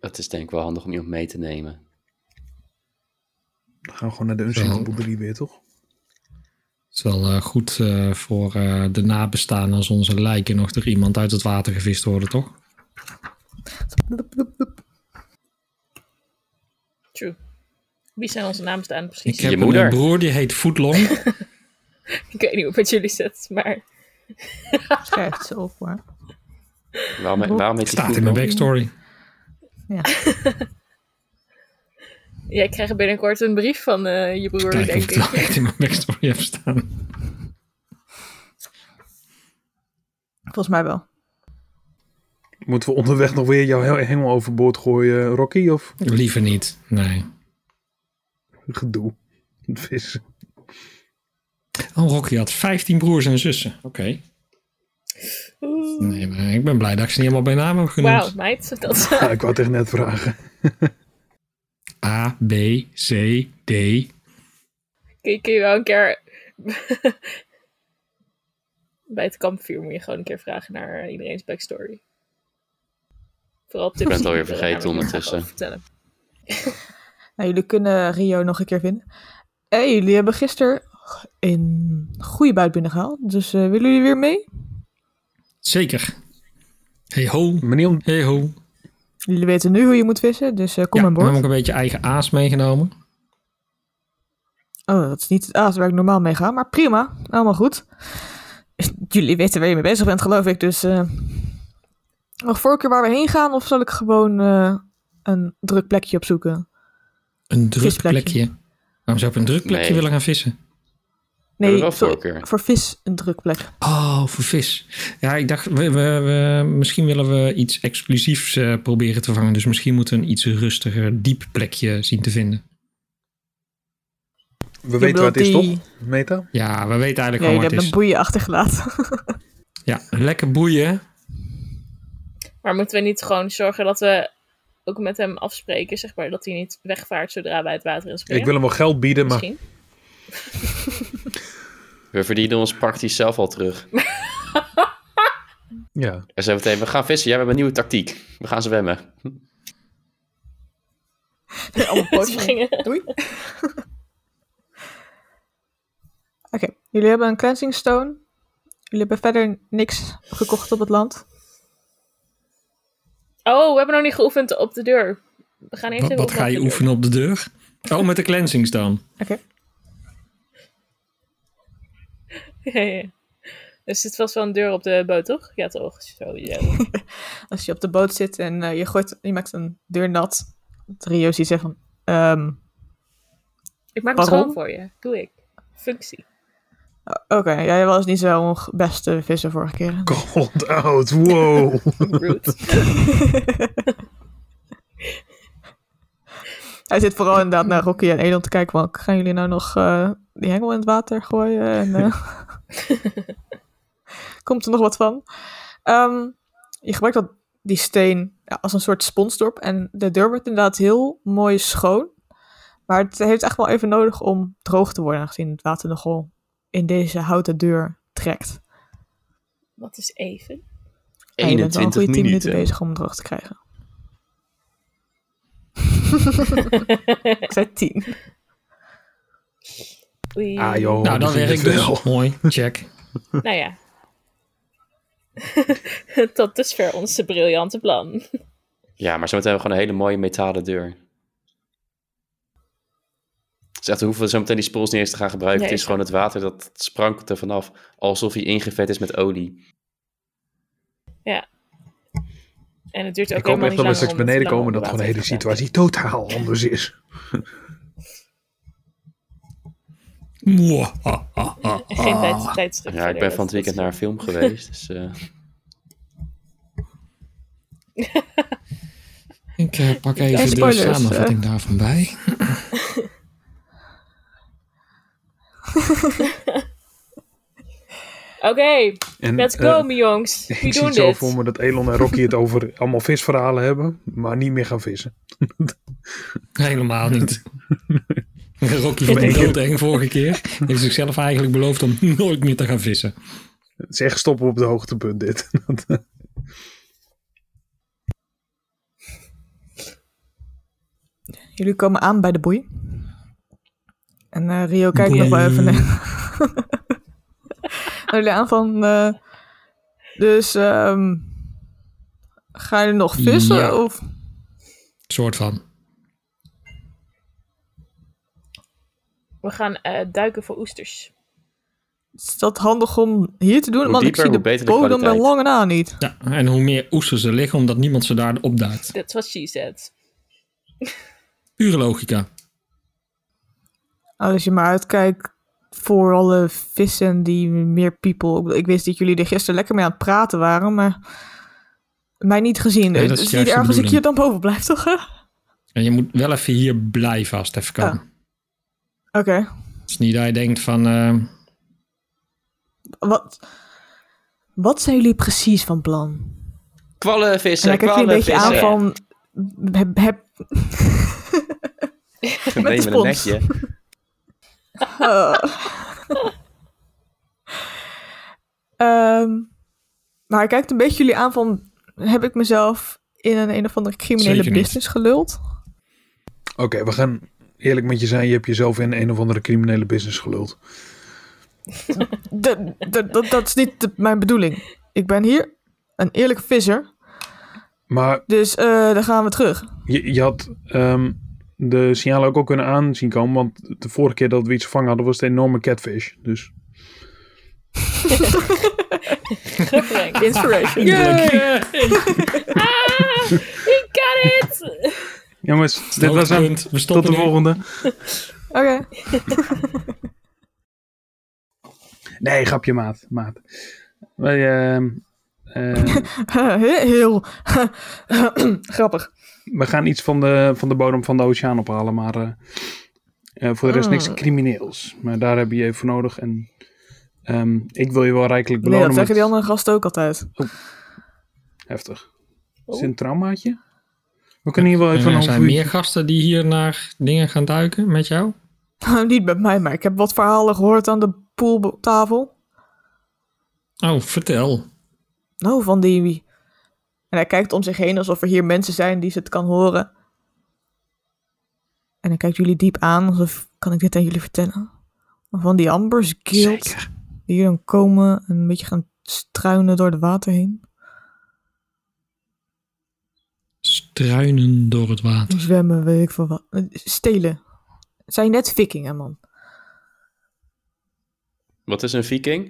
Speaker 3: Het is denk ik wel handig om iemand mee te nemen.
Speaker 5: Dan gaan we gewoon naar de Unsinkable boerderie weer, toch?
Speaker 2: Het is wel eh, goed eh, voor eh, de nabestaanden als onze lijken nog door iemand uit het water gevist worden, toch?
Speaker 1: Bloep, bloep, bloep.
Speaker 4: true. Wie zijn onze naamstaanden
Speaker 2: Ik
Speaker 4: precies?
Speaker 2: heb
Speaker 3: moeder.
Speaker 2: een broer die heet Footlong.
Speaker 4: Ik weet niet hoe het jullie zit, maar...
Speaker 1: Schrijf het ze op hoor.
Speaker 3: Waarom, waarom heet die
Speaker 2: Staat in
Speaker 3: voetbal?
Speaker 2: mijn backstory.
Speaker 1: Ja.
Speaker 4: Jij krijgt binnenkort een brief van eh, je broer,
Speaker 2: Kijk of
Speaker 4: denk
Speaker 2: ik het wel
Speaker 4: ik.
Speaker 2: echt in mijn backstory heb staan.
Speaker 1: Volgens mij wel.
Speaker 5: Moeten we onderweg nog weer jou heel- helemaal overboord gooien, Rocky? Of
Speaker 2: Liever niet, nee.
Speaker 5: gedoe? Vis.
Speaker 2: Oh, Rocky had 15 broers en zussen. Oké.
Speaker 4: Oeh.
Speaker 2: Nee, maar ik ben blij dat ik ze niet allemaal bij naam heb genoemd.
Speaker 4: Wauw, meid. Dat is
Speaker 5: Ja, ik wou het echt net vragen.
Speaker 2: A, B, C, D.
Speaker 4: Kun je, kun je wel een keer. Bij het kampvuur moet je gewoon een keer vragen naar eh, iedereen's backstory. Vooral tips.
Speaker 3: ben het
Speaker 4: die
Speaker 3: alweer
Speaker 4: jullie
Speaker 3: vergeten
Speaker 4: daar met
Speaker 3: ondertussen.
Speaker 4: over Vertellen.
Speaker 1: Nou, jullie kunnen Rio nog een keer vinden. En jullie hebben gisteren een goede buit binnengehaald. Dus eh, willen jullie weer mee?
Speaker 2: Zeker. Hey ho,
Speaker 5: Manier om...
Speaker 2: hey ho.
Speaker 1: Jullie weten nu hoe je moet vissen, dus eh, kom
Speaker 2: ja,
Speaker 1: aan
Speaker 2: we hebben
Speaker 1: boord.
Speaker 2: ook een beetje eigen aas meegenomen.
Speaker 1: Oh, dat is niet het aas waar ik normaal mee ga, maar prima. Allemaal goed. Jullie weten waar je mee bezig bent, geloof ik. Dus eh nog voorkeur waar we heen gaan, of zal ik gewoon eh, een druk plekje opzoeken?
Speaker 2: Een druk
Speaker 1: Visplekje.
Speaker 2: plekje. Waarom zou ik op een druk plekje
Speaker 3: Nee.
Speaker 2: willen gaan vissen?
Speaker 3: hebben wel
Speaker 1: voor-
Speaker 3: voorkeur.
Speaker 1: voor vis een druk plek.
Speaker 2: Oh, voor vis. Ja, ik dacht, we, we, we- misschien willen we iets exclusiefs eh, proberen te vangen. Dus misschien moeten we een iets rustiger, diep plekje zien te vinden.
Speaker 5: We weten waar het is,
Speaker 1: die-
Speaker 5: toch? Meta?
Speaker 2: Ja, we weten eigenlijk
Speaker 1: Ja,
Speaker 2: gewoon
Speaker 1: jullie
Speaker 2: wat het
Speaker 1: hebben
Speaker 2: is.
Speaker 1: een boeien achtergelaten.
Speaker 2: Ja, lekker boeien.
Speaker 4: Maar moeten we niet gewoon zorgen dat we ook met hem afspreken, zeg maar, dat hij niet wegvaart zodra wij het water in springen?
Speaker 5: Ik wil hem wel geld bieden, maar
Speaker 4: Misschien.
Speaker 3: We verdienen ons praktisch zelf al terug.
Speaker 5: ja.
Speaker 3: En zei meteen, we gaan vissen. Ja, we hebben een nieuwe tactiek. We gaan zwemmen.
Speaker 1: Allemaal
Speaker 4: Dus
Speaker 1: bootjes.
Speaker 4: we gingen-
Speaker 1: Doei. Oké, jullie hebben een cleansing stone. Jullie hebben verder niks gekocht op het land.
Speaker 4: Oh, we hebben nog niet geoefend op de deur. We gaan eerst
Speaker 2: Wat,
Speaker 4: even
Speaker 2: wat
Speaker 4: op
Speaker 2: ga je
Speaker 4: de deur.
Speaker 2: oefenen op de deur? Oh, met de cleansings dan.
Speaker 1: Oké.
Speaker 4: Ja, ja. Er zit vast wel een deur op de boot, toch? Ja, toch. Zo, ja.
Speaker 1: Als je op de boot zit en eh, je, gooit, je maakt een deur nat. Trio ziet zeggen van... ehm,
Speaker 4: Ik maak het
Speaker 1: Waarom?
Speaker 4: schoon voor je. Doe ik. Functie.
Speaker 1: Oké, jij was niet zo'n g- beste visser vorige keer.
Speaker 5: Cold out, wow.
Speaker 4: Rude.
Speaker 1: Hij zit vooral inderdaad naar Rocky en Elon te kijken. Want gaan jullie nou nog eh, die hengel in het water gooien? En, eh, Komt er nog wat van? Ehm, je gebruikt dat, die steen ja, als een soort sponsdorp. En de deur wordt inderdaad heel mooi schoon. Maar het heeft echt wel even nodig om droog te worden. Aangezien het water nogal in deze houten deur trekt.
Speaker 4: Wat is even?
Speaker 1: En je bent wel een
Speaker 3: 21
Speaker 1: goede 10 minuten
Speaker 3: minuten.
Speaker 1: bezig om hem droog te krijgen. Ik zei 10.
Speaker 4: Oei.
Speaker 5: Ah, joh.
Speaker 2: nou,
Speaker 5: dat
Speaker 2: dan
Speaker 5: is niet
Speaker 2: werkt dus.
Speaker 5: veel.
Speaker 2: Mooi, check.
Speaker 4: Nou ja. Tot dusver onze briljante plan.
Speaker 3: Ja, maar zometeen hebben we gewoon een hele mooie metalen deur. Zegt, we hoeven zometeen die spools niet eens te gaan gebruiken.
Speaker 4: Nee,
Speaker 3: het is
Speaker 4: ik-
Speaker 3: gewoon het water dat sprankelt er vanaf. Alsof hij ingevet is met olie.
Speaker 4: En het duurt ook
Speaker 5: Ik hoop
Speaker 4: helemaal niet
Speaker 5: echt dat
Speaker 4: lang
Speaker 5: we straks
Speaker 4: om het
Speaker 5: beneden
Speaker 4: lang
Speaker 5: komen dat
Speaker 4: onder
Speaker 5: gewoon de hele
Speaker 4: water te
Speaker 5: situatie totaal anders is.
Speaker 2: Mwah, ah, ah, ah,
Speaker 4: gaan. Geen
Speaker 2: ah.
Speaker 4: tijd, tijdstip.
Speaker 3: Ja, ik
Speaker 4: verder,
Speaker 3: ben
Speaker 4: dat-
Speaker 3: van het weekend
Speaker 4: dat
Speaker 3: naar een
Speaker 4: is-
Speaker 3: film geweest. Dus, eh,
Speaker 2: Ik eh, pak
Speaker 1: Geen
Speaker 2: even de
Speaker 1: spoilers,
Speaker 2: samenvatting
Speaker 5: eh.
Speaker 2: daarvan bij.
Speaker 4: Oké,
Speaker 5: En,
Speaker 4: let's
Speaker 5: eh,
Speaker 4: go, mijn jongens. We
Speaker 5: ik zie
Speaker 4: doen
Speaker 5: het zo
Speaker 4: dit.
Speaker 5: voor me dat Elon en Rocky het over allemaal visverhalen hebben, maar niet meer gaan vissen.
Speaker 2: Helemaal niet. Rocky van
Speaker 5: Nee.
Speaker 2: de dood eng vorige keer. Heeft zichzelf eigenlijk beloofd om nooit meer te gaan vissen.
Speaker 5: Het is echt stoppen op de hoogtepunt dit.
Speaker 1: Jullie komen aan bij de boei. En eh, Rio kijkt nog wel
Speaker 2: Boei.
Speaker 1: even naar. En jullie aan van. eh, dus. ehm gaan jullie nog vissen?
Speaker 2: Ja.
Speaker 1: Of
Speaker 2: Soort van.
Speaker 4: We gaan eh, duiken voor oesters.
Speaker 1: is dat handig om hier te doen?
Speaker 3: Hoe
Speaker 1: Want
Speaker 3: dieper,
Speaker 1: ik zie
Speaker 3: hoe
Speaker 1: de
Speaker 3: beter de
Speaker 1: bodem bij
Speaker 3: kwaliteit.
Speaker 1: lange na niet.
Speaker 2: Ja, en hoe meer oesters er liggen, omdat niemand ze daar opduikt.
Speaker 4: That's what she said.
Speaker 2: Pure logica.
Speaker 1: Nou, Als je maar uitkijkt voor alle vissen die meer people. Ik bedoel, Ik wist dat jullie er gisteren lekker mee aan het praten waren, maar. Mij niet gezien.
Speaker 2: Nee, dat
Speaker 1: het
Speaker 2: is
Speaker 1: is niet
Speaker 2: juist de
Speaker 1: erg als ik hier
Speaker 2: bedoeling.
Speaker 1: dan boven blijf, toch? hè? Oké.
Speaker 2: En je moet wel even hier blij vast even komen. Het is niet dat je denkt van... eh,
Speaker 1: Wat, wat zijn jullie precies van plan?
Speaker 3: kwallen
Speaker 1: En
Speaker 3: vissen,
Speaker 1: dan kijk je een
Speaker 3: kwallen
Speaker 1: beetje
Speaker 3: vissen.
Speaker 1: aan van... Heb, heb, met de
Speaker 3: Nee, met een
Speaker 1: spons.
Speaker 3: netje.
Speaker 1: eh. nou, Ehm, maar hij kijkt een beetje jullie aan van... Heb ik mezelf in een een of andere criminele
Speaker 2: Zeker niet.
Speaker 1: business geluld.
Speaker 5: Oké, we gaan eerlijk met je zijn. Je hebt jezelf in een of andere criminele business geluld.
Speaker 1: De- de- dat- dat is niet de- mijn bedoeling. Ik ben hier een eerlijke visser,
Speaker 5: Maar
Speaker 1: dus eh daar gaan we terug.
Speaker 5: je, je had ehm, de signalen ook al kunnen aanzien komen. Want de vorige keer dat we iets gevangen hadden was het een enorme catfish. Dus
Speaker 4: Terugbreng.
Speaker 1: Inspiration.
Speaker 4: ah, ik got it!
Speaker 5: jongens, dit was hem.
Speaker 2: Hoogtepunt. We
Speaker 5: Tot
Speaker 2: stoppen
Speaker 5: de
Speaker 2: nu.
Speaker 5: volgende.
Speaker 1: Oké.
Speaker 5: Nee, grapje maat. maat. Wij, ehm, ehm,
Speaker 1: Heel grappig.
Speaker 5: we gaan iets van de, van de bodem van de oceaan ophalen. Maar eh, eh, voor de rest niks
Speaker 1: Ah.
Speaker 5: crimineels. Maar daar heb je je voor nodig. En ehm, ik wil je wel rijkelijk
Speaker 1: Nee,
Speaker 5: belonen.
Speaker 1: dat zeggen die
Speaker 5: met-
Speaker 1: andere gasten ook altijd.
Speaker 5: Heftig. Is
Speaker 4: Oh.
Speaker 5: dit een traumaatje? We kunnen hier wel
Speaker 2: En
Speaker 5: even een
Speaker 2: er
Speaker 5: half
Speaker 2: zijn
Speaker 5: uurtje-
Speaker 2: meer gasten die hier naar dingen gaan duiken met jou.
Speaker 1: Niet met mij, maar ik heb wat verhalen gehoord aan de pooltafel.
Speaker 2: Oh, vertel.
Speaker 1: Nou, van die... En hij kijkt om zich heen alsof er hier mensen zijn die ze het kan horen. En hij kijkt jullie diep aan alsof... Kan ik dit aan jullie vertellen? Van die Ambers Guild.
Speaker 5: Zeker.
Speaker 1: Die hier dan komen en een beetje gaan struinen door de water heen.
Speaker 2: Struinen door het water.
Speaker 1: Zwemmen, weet ik veel wat. Stelen. Het zijn net vikingen, man.
Speaker 3: Wat is een viking?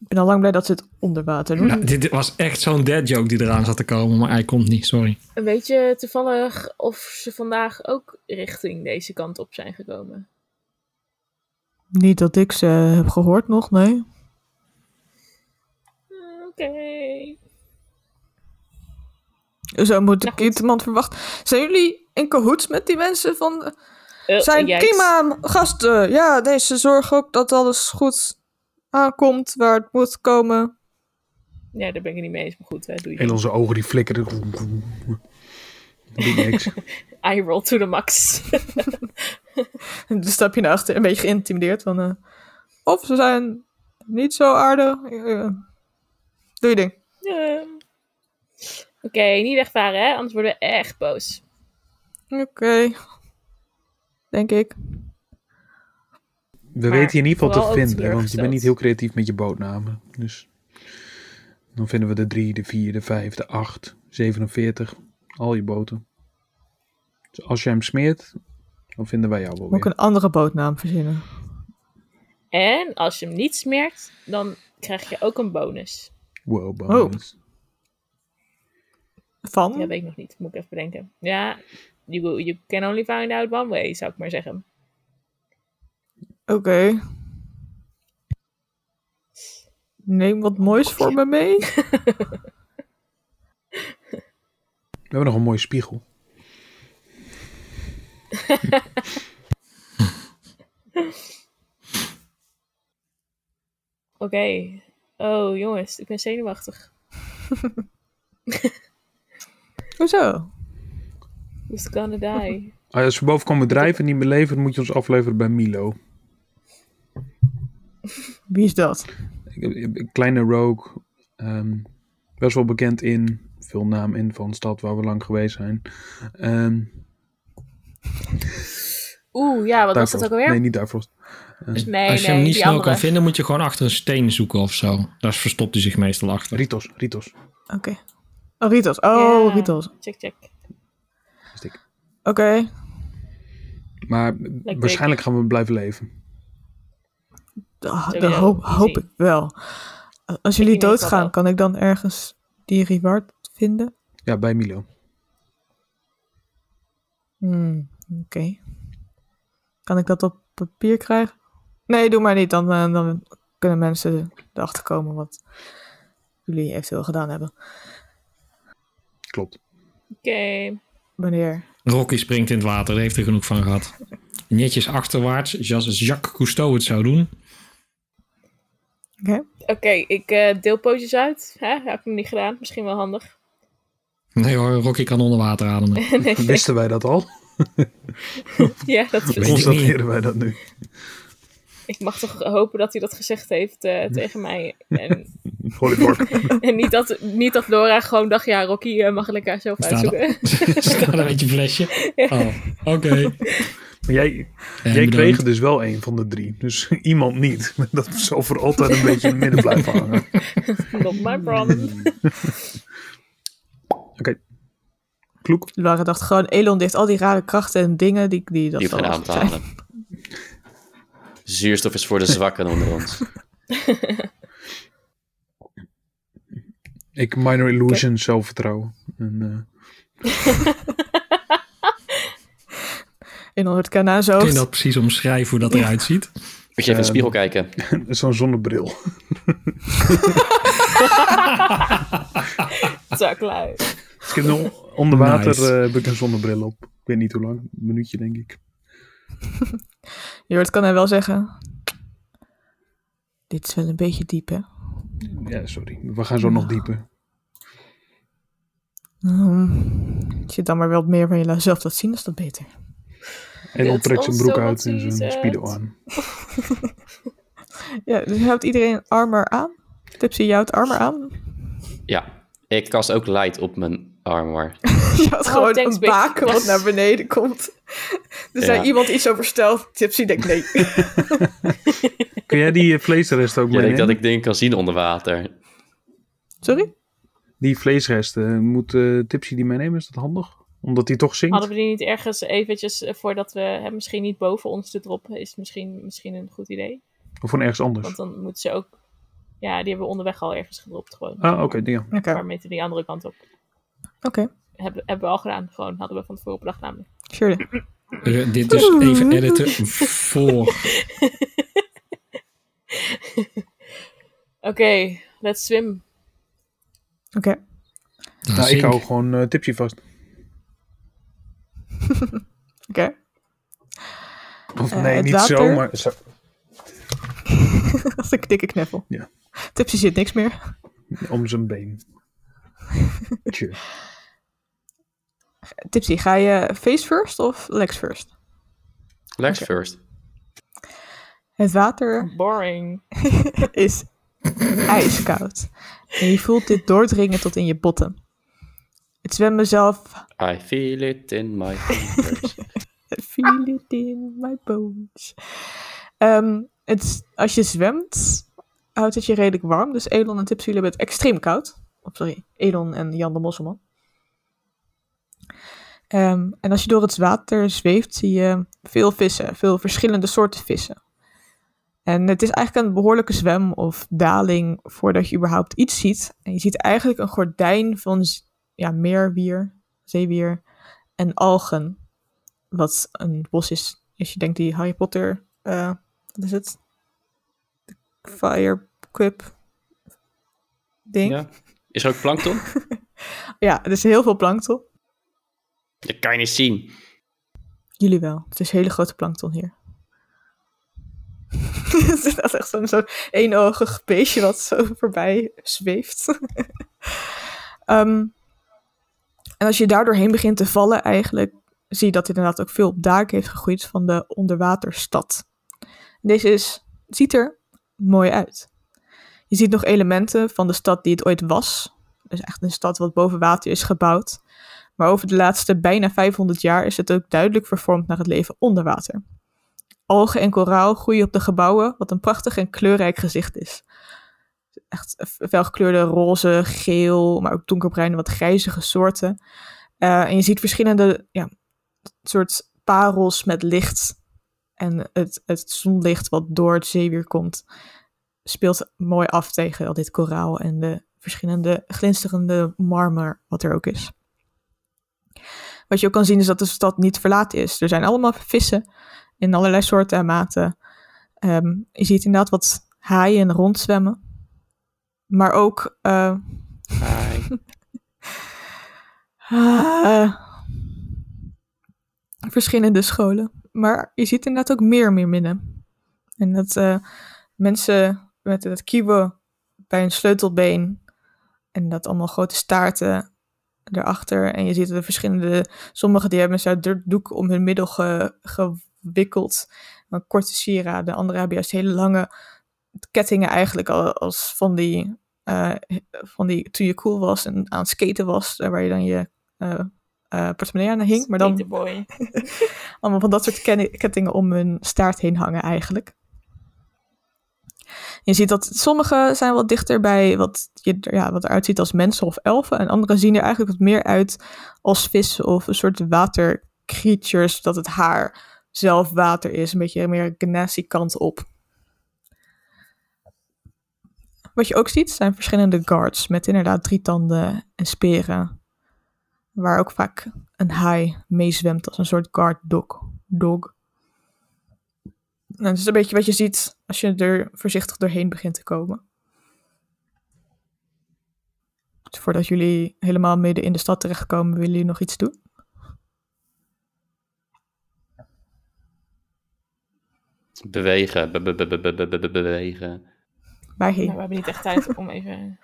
Speaker 1: Ik ben al lang blij dat ze het onder water doen.
Speaker 2: Ja, dit, dit was echt zo'n dead joke die eraan zat te komen, maar hij komt niet, sorry.
Speaker 4: Weet je toevallig of ze vandaag ook richting deze kant op zijn gekomen?
Speaker 1: Niet dat ik ze heb gehoord nog, nee.
Speaker 4: Ah, Oké.
Speaker 1: Zo moet
Speaker 4: Nou
Speaker 1: ik
Speaker 4: goed.
Speaker 1: iets iemand verwachten. Zijn jullie in cahoots met die mensen van...
Speaker 4: Eh,
Speaker 1: Zijn
Speaker 4: jij-
Speaker 1: prima gasten. Ja, deze zorg ook dat alles goed aankomt waar het moet komen.
Speaker 4: Ja, daar ben ik het niet mee eens, maar goed, hè, doe je.
Speaker 5: En onze ogen die flikkeren. Doet niks.
Speaker 4: Eye roll to the max.
Speaker 1: En dan stap je naar achter, een beetje geïntimideerd. Van, eh, of ze zijn niet zo aardig. eh, eh, doe je ding.
Speaker 4: Ja. Eh. Oké, niet wegvaren, hè? Anders worden we echt boos.
Speaker 1: Oké. Denk ik.
Speaker 5: We weten je in ieder geval
Speaker 4: vooral
Speaker 5: te
Speaker 4: ook
Speaker 5: vinden. Want je
Speaker 4: teleurgesteld.
Speaker 5: bent niet heel creatief met je bootnamen. Dus dan vinden we de 3, de 4, de 5, de 8, 47. Al je boten. Dus als jij hem smeert, dan vinden wij jou wel
Speaker 1: Moet ik
Speaker 5: weer.
Speaker 1: een andere bootnaam verzinnen?
Speaker 4: En als je hem niet smeert, dan krijg je ook een bonus.
Speaker 5: Wow, bonus.
Speaker 4: Oh.
Speaker 1: Van?
Speaker 4: Ja, weet ik nog niet. Moet ik even bedenken. Ja, you, you can only find out one way, zou ik maar zeggen.
Speaker 1: Oké. Neem wat moois voor me mee.
Speaker 5: We hebben nog een mooie spiegel.
Speaker 4: Oké. Oh, jongens, ik ben zenuwachtig.
Speaker 1: Hoezo?
Speaker 4: Who's gonna die?
Speaker 5: Ah, Als we boven komen drijven en niet meer leven, dan moet je ons afleveren bij Milo.
Speaker 1: Wie is dat?
Speaker 5: Een Kleine Rogue. ehm, best wel bekend in. Veel naam in van de stad waar we lang geweest zijn. Ehm
Speaker 4: Oeh, ja, wat was dat
Speaker 5: Duifrost.
Speaker 4: ook alweer?
Speaker 5: Nee,
Speaker 4: Nee,
Speaker 5: niet Duifrost.
Speaker 4: Dus nee,
Speaker 2: Als je hem niet
Speaker 4: die
Speaker 2: snel
Speaker 4: andere.
Speaker 2: kan vinden, moet je gewoon achter een steen zoeken of zo. Daar verstopt hij zich meestal achter.
Speaker 5: Ritos, Ritos.
Speaker 1: Oké. Oh, Ritos. Oh,
Speaker 4: Ja.
Speaker 1: Ritos. Oké.
Speaker 4: Check, check.
Speaker 5: is dik. Maar waarschijnlijk gaan we blijven leven.
Speaker 1: Ah,
Speaker 4: Sowieso,
Speaker 1: dat hoop,
Speaker 4: easy.
Speaker 1: hoop ik wel. Als jullie
Speaker 4: in ieder geval
Speaker 1: doodgaan,
Speaker 4: wel.
Speaker 1: kan ik dan ergens die reward vinden?
Speaker 5: Ja, bij Milo.
Speaker 1: Hmm, Oké. Kan ik dat op papier krijgen? Nee, doe maar niet. Dan, eh, dan kunnen mensen erachter komen wat jullie eventueel gedaan hebben.
Speaker 5: Klopt.
Speaker 4: Oké.
Speaker 1: Wanneer?
Speaker 2: Rocky springt in het water, daar heeft hij genoeg van gehad. Netjes achterwaarts, zoals Jacques Cousteau het zou doen.
Speaker 1: Oké.
Speaker 4: Oké, ik eh, deel pootjes uit. Hè? Heb ik nog niet gedaan. Misschien wel handig.
Speaker 2: Nee hoor, Rocky kan onder water ademen.
Speaker 4: nee,
Speaker 5: Wisten wij dat al?
Speaker 4: ja, dat is
Speaker 2: ik niet.
Speaker 5: Constateren wij dat nu?
Speaker 4: Ik mag toch hopen dat hij dat gezegd heeft eh, tegen mij. En
Speaker 5: Holyborg.
Speaker 4: En niet dat, niet dat Laura gewoon dacht, ja, Rocky eh, mag lekker zelf
Speaker 2: Staan er.
Speaker 4: uitzoeken.
Speaker 2: Staat er met je flesje. Oh, oké.
Speaker 5: Maar jij,
Speaker 2: En
Speaker 5: jij kreeg
Speaker 2: bedankt.
Speaker 5: er dus wel een van de drie. Dus iemand niet. Dat zal voor altijd een beetje in het midden blijven hangen.
Speaker 4: Not my problem.
Speaker 5: Kloek.
Speaker 1: Laura dacht gewoon, Elon die heeft al die rare krachten en dingen die, die dat
Speaker 3: Die hoeft
Speaker 1: wel
Speaker 3: geen aan
Speaker 1: wel
Speaker 3: te
Speaker 1: zijn.
Speaker 3: halen. Zuurstof is voor de zwakken onder ons.
Speaker 5: Ik minor illusion zelfvertrouwen. En, eh,
Speaker 1: En dan hoort Kana zo.
Speaker 2: Kun je dat precies omschrijven hoe dat eruit ziet?
Speaker 3: Moet je even in de
Speaker 5: Ehm.
Speaker 3: spiegel kijken.
Speaker 5: Zo'n zonnebril.
Speaker 4: Zaklui.
Speaker 5: Ik heb nog onder water
Speaker 2: Nice.
Speaker 5: eh, heb ik een zonnebril op. Ik weet niet hoe lang. Een minuutje denk ik.
Speaker 1: Je hoort Kana wel zeggen. Dit is wel een beetje diep, hè?
Speaker 5: Ja, sorry. We gaan zo nog dieper.
Speaker 1: Hmm. Als je dan maar wel meer van jezelf laat zien, is dat beter.
Speaker 5: En dan
Speaker 4: Dit
Speaker 5: trekt zijn
Speaker 4: ons
Speaker 5: broek
Speaker 4: zo
Speaker 5: uit en
Speaker 4: wat
Speaker 5: zijn
Speaker 4: is
Speaker 5: speedo
Speaker 4: het.
Speaker 5: aan.
Speaker 1: Ja, dus houdt iedereen armor aan? Tipsy, je houdt armor aan?
Speaker 3: Ja, ik kast ook light op mijn armor.
Speaker 1: Je had
Speaker 4: Oh,
Speaker 1: gewoon
Speaker 4: thanks,
Speaker 1: een
Speaker 4: bitch.
Speaker 1: baken wat naar beneden komt. Er zei
Speaker 3: Ja.
Speaker 1: iemand iets over stel. Tipsy denkt nee.
Speaker 5: Kun jij die eh, vleesresten ook
Speaker 3: Je denkt
Speaker 5: meenemen?
Speaker 3: dat ik dingen kan zien onder water.
Speaker 1: Sorry?
Speaker 5: Die vleesresten. Moet eh, Tipsy die meenemen? Is dat handig? Omdat hij toch zingt?
Speaker 4: Hadden we die niet ergens eventjes, eh, voordat we, hè, misschien niet boven ons te droppen, is misschien, misschien een goed idee.
Speaker 5: Of van ergens anders?
Speaker 4: Want dan moeten ze ook, ja, die hebben we onderweg al ergens gedropt gewoon.
Speaker 5: Ah, oké. ja.
Speaker 1: Oké.
Speaker 4: Een paar meter die andere kant op.
Speaker 1: Oké.
Speaker 4: Hebben, hebben we al gedaan, gewoon hadden we van tevoren bedacht namelijk.
Speaker 1: Sure.
Speaker 2: Eh, dit is even editen voor.
Speaker 4: Oké, let's swim.
Speaker 1: Oké.
Speaker 5: Nou, ik hou gewoon eh, Tipsy vast.
Speaker 1: Oké.
Speaker 5: Of
Speaker 1: Eh,
Speaker 5: nee,
Speaker 1: het
Speaker 5: niet zo,
Speaker 1: water?
Speaker 5: maar... Zo.
Speaker 1: Dat is een dikke knuffel.
Speaker 5: Ja.
Speaker 1: Tipsy zit niks meer.
Speaker 5: Om zijn been. Tjur.
Speaker 1: Tipsy, ga je face first of legs first?
Speaker 3: Legs first.
Speaker 1: Het water
Speaker 4: Boring.
Speaker 1: is ijskoud. En je voelt dit doordringen tot in je botten. Het zwemmen zelf...
Speaker 3: I feel it in my fingers.
Speaker 1: I Feel it in my bones. Ehm, het, is- als je zwemt, houdt het je redelijk warm. Dus Elon en Tipsy, jullie hebben het extreem koud. Oh, sorry, Elon en Jan de Mosselman. Ehm, en als je door het water zweeft, zie je veel vissen. Veel verschillende soorten vissen. En het is eigenlijk een behoorlijke zwem of daling voordat je überhaupt iets ziet. En je ziet eigenlijk een gordijn van z- ja, meerwier, zeewier en algen. Wat een bos is, als je denkt die Harry Potter, eh, wat is het? De Fire Cup ding. Ja.
Speaker 3: Ja. Is er ook plankton?
Speaker 1: er is heel veel plankton.
Speaker 3: Dat kan je niet zien.
Speaker 1: Jullie wel. Het is hele grote plankton hier. Het is dat echt zo'n zo'n eenoogig beestje wat zo voorbij zweeft. Ehm, en als je daar doorheen begint te vallen eigenlijk, zie je dat dit inderdaad ook veel op daken heeft gegroeid van de onderwaterstad. Deze is, ziet er mooi uit. Je ziet nog elementen van de stad die het ooit was. Dus echt een stad wat boven water is gebouwd. Maar over de laatste bijna 500 jaar is het ook duidelijk vervormd naar het leven onder water. Algen en koraal groeien op de gebouwen, wat een prachtig en kleurrijk gezicht is. Echt felgekleurde roze, geel, maar ook donkerbruine, wat grijzige soorten. Eh, en je ziet verschillende ja, soort parels met licht. En het, het zonlicht wat door het zeewier komt, speelt mooi af tegen al dit koraal en de verschillende glinsterende marmer wat er ook is. Wat je ook kan zien is dat de stad niet verlaten is. Er zijn allemaal vissen in allerlei soorten en maten. Ehm, je ziet inderdaad wat haaien rondzwemmen. Maar ook eh,
Speaker 3: Hi.
Speaker 1: eh, verschillende scholen. Maar je ziet inderdaad ook meer meerminnen. En dat eh, mensen met het kibo bij een sleutelbeen en dat allemaal grote staarten erachter. En je ziet de verschillende, sommige die hebben een soort doek om hun middel ge- gewikkeld. Een korte sieraden, de andere hebben juist hele lange kettingen eigenlijk al- als van die eh, van die, toen je cool was en aan het skaten was, eh, waar je dan je eh, eh, portemonnee aan hing. Maar dan
Speaker 4: Skaterboy.
Speaker 1: allemaal van dat soort ken- kettingen om hun staart heen hangen eigenlijk. Je ziet dat sommige zijn wat dichter bij wat, je, er- ja, wat eruit ziet als mensen of elfen. En andere zien er eigenlijk wat meer uit als vissen of een soort watercreatures. Dat het haar zelf water is. Een beetje meer Genasi kant op. Wat je ook ziet zijn verschillende guards met inderdaad drietanden en speren. Waar ook vaak een haai meezwemt als een soort guard dog. dog. Nou, dat is een beetje wat je ziet als je er voorzichtig doorheen begint te komen. Dus voordat jullie helemaal midden in de stad terechtkomen, willen jullie nog iets doen?
Speaker 3: Bewegen, be- be- be- be- be- be- be- bewegen.
Speaker 1: Waarheen?
Speaker 4: Nou, we hebben niet echt tijd om even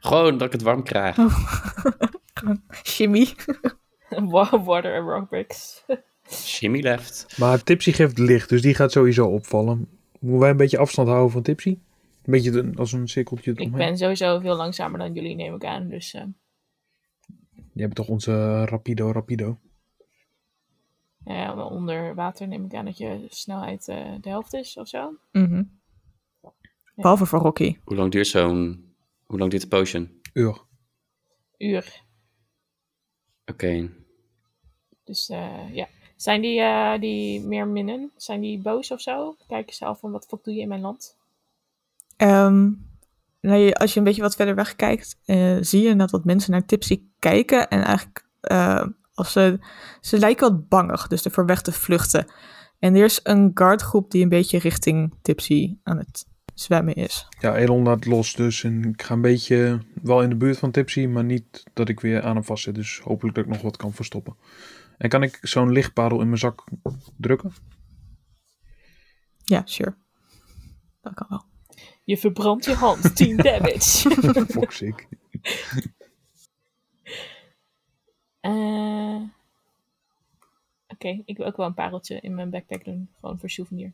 Speaker 3: Gewoon dat ik het warm krijg.
Speaker 1: Jimmy.
Speaker 4: wa- water en rock bricks.
Speaker 3: Jimmy left.
Speaker 5: Maar Tipsy geeft licht, dus die gaat sowieso opvallen. Moeten wij een beetje afstand houden van Tipsy? Een beetje de- als een cirkeltje
Speaker 4: Ik
Speaker 5: eromheen.
Speaker 4: ben sowieso veel langzamer dan jullie, neem ik aan. Dus eh,
Speaker 5: Je hebt toch onze Rapido Rapido?
Speaker 4: nou ja, wel onder water neem ik aan dat je snelheid eh, de helft is of zo.
Speaker 1: Mhm. Behalve voor Rocky.
Speaker 3: Hoe lang duurt zo'n... Hoe lang duurt de potion?
Speaker 5: Uur.
Speaker 4: Uur.
Speaker 3: Oké.
Speaker 4: Dus eh, ja. Zijn die, eh die meer minnen? Zijn die boos of zo? Kijken ze al van wat fuck doe je in mijn land?
Speaker 1: Ehm, nou, je- als je een beetje wat verder weg kijkt, eh, zie je inderdaad dat mensen naar Tipsy kijken. En eigenlijk, eh, als ze, ze lijken wat bangig, dus ervoor weg te vluchten. En er is een guardgroep die een beetje richting Tipsy aan het zwemmen is.
Speaker 5: Ja, Elon laat los dus. En ik ga een beetje wel in de buurt van Tipsy, maar niet dat ik weer aan hem vast zit. Dus hopelijk dat ik nog wat kan verstoppen. En kan ik zo'n lichtparel in mijn zak drukken?
Speaker 1: Ja, sure. Dat kan wel.
Speaker 4: Je verbrandt je hand. 10 damage.
Speaker 5: Fuck sick.
Speaker 4: Eh, Oké, ik wil ook wel een pareltje in mijn backpack doen. Gewoon voor souvenir.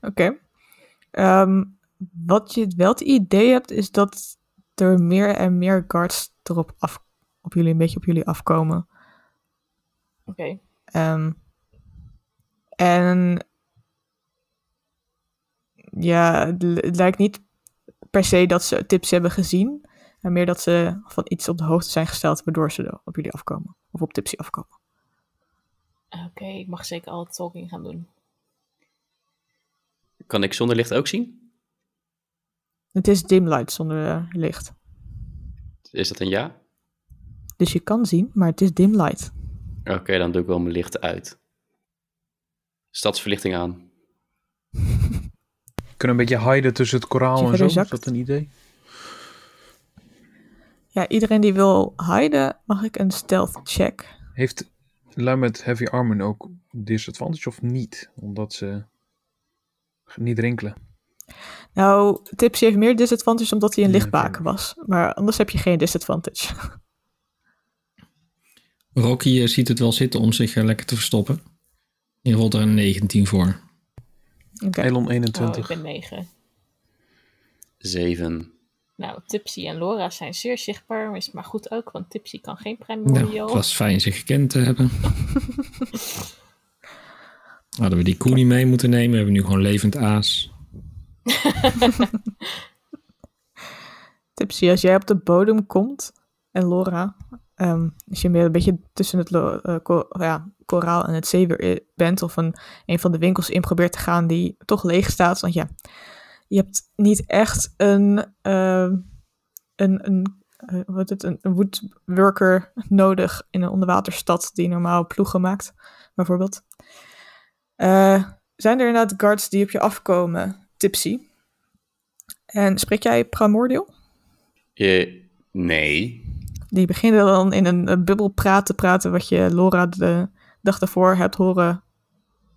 Speaker 1: Oké. Ehm, wat je wel het idee hebt, is dat er meer en meer guards erop af, op jullie, een beetje op jullie afkomen.
Speaker 4: Oké.
Speaker 1: Ehm, en ja, het, l- het lijkt niet per se dat ze tips hebben gezien, maar meer dat ze van iets op de hoogte zijn gesteld waardoor ze er op jullie afkomen of op tipsy afkomen.
Speaker 4: Oké, ik mag zeker al talking gaan doen. Oh,
Speaker 3: Kan ik zonder licht ook zien?
Speaker 1: Het is dim light zonder eh, licht,
Speaker 3: Is dat een ja?
Speaker 1: dus je kan zien, maar het is dim light.
Speaker 3: Oké, dan doe ik wel mijn licht uit. Stadsverlichting aan.
Speaker 5: Kunnen we een beetje hiden tussen het
Speaker 1: Als je
Speaker 5: koraal en zo?
Speaker 1: verder
Speaker 5: Is
Speaker 1: zakt.
Speaker 5: dat een idee?
Speaker 1: Ja, iedereen die wil hiden, mag ik een stealth check.
Speaker 5: Heeft lui met heavy armen ook disadvantage of niet? Omdat ze niet rinkelen.
Speaker 1: Nou, Tipsy heeft meer disadvantage omdat hij een
Speaker 5: Ja, oké.
Speaker 1: lichtbaken was, maar anders heb je geen disadvantage.
Speaker 2: Rocky eh, ziet het wel zitten om zich eh, lekker te verstoppen. Je rolt er een 19 voor.
Speaker 1: Oké.
Speaker 5: Elon
Speaker 4: Oh, ik
Speaker 5: 21.
Speaker 4: ben 9.
Speaker 3: Zeven.
Speaker 4: Nou, Tipsy en Laura zijn zeer zichtbaar, maar is maar goed ook, want Tipsy kan geen
Speaker 2: Nou,
Speaker 4: primordial.
Speaker 2: het was fijn ze gekend te hebben. Hadden we die koe niet mee moeten nemen, hebben we nu gewoon levend aas.
Speaker 1: Tipsy, als jij op de bodem komt en Laura, ehm, als je meer een beetje tussen het lo- eh, ko- ja, koraal en het zeewier i- bent of een, een van de winkels in probeert te gaan die toch leeg staat, want ja, je hebt niet echt een, ehm, een, een, eh, wat is het, een, een woodworker nodig in een onderwaterstad die normaal ploegen maakt, bijvoorbeeld. Eh, zijn er inderdaad guards die op je afkomen, Tipsy? En spreek jij primordial?
Speaker 3: Eh, nee.
Speaker 1: Die beginnen dan in een, eh, bubbel praat te praten wat je Laura de dag daarvoor hebt horen,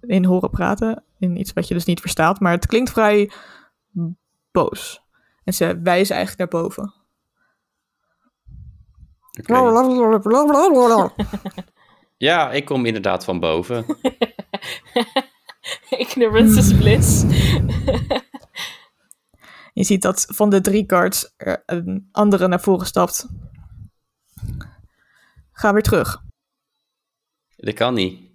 Speaker 1: in horen praten. In iets wat je dus niet verstaat, maar het klinkt vrij boos. En ze wijzen eigenlijk naar boven.
Speaker 3: Oké. Ja, ik kom inderdaad van boven.
Speaker 4: Ignorance is bliss.
Speaker 1: Je ziet dat van de drie guards er een andere naar voren stapt. Ga weer terug.
Speaker 3: Dat kan niet.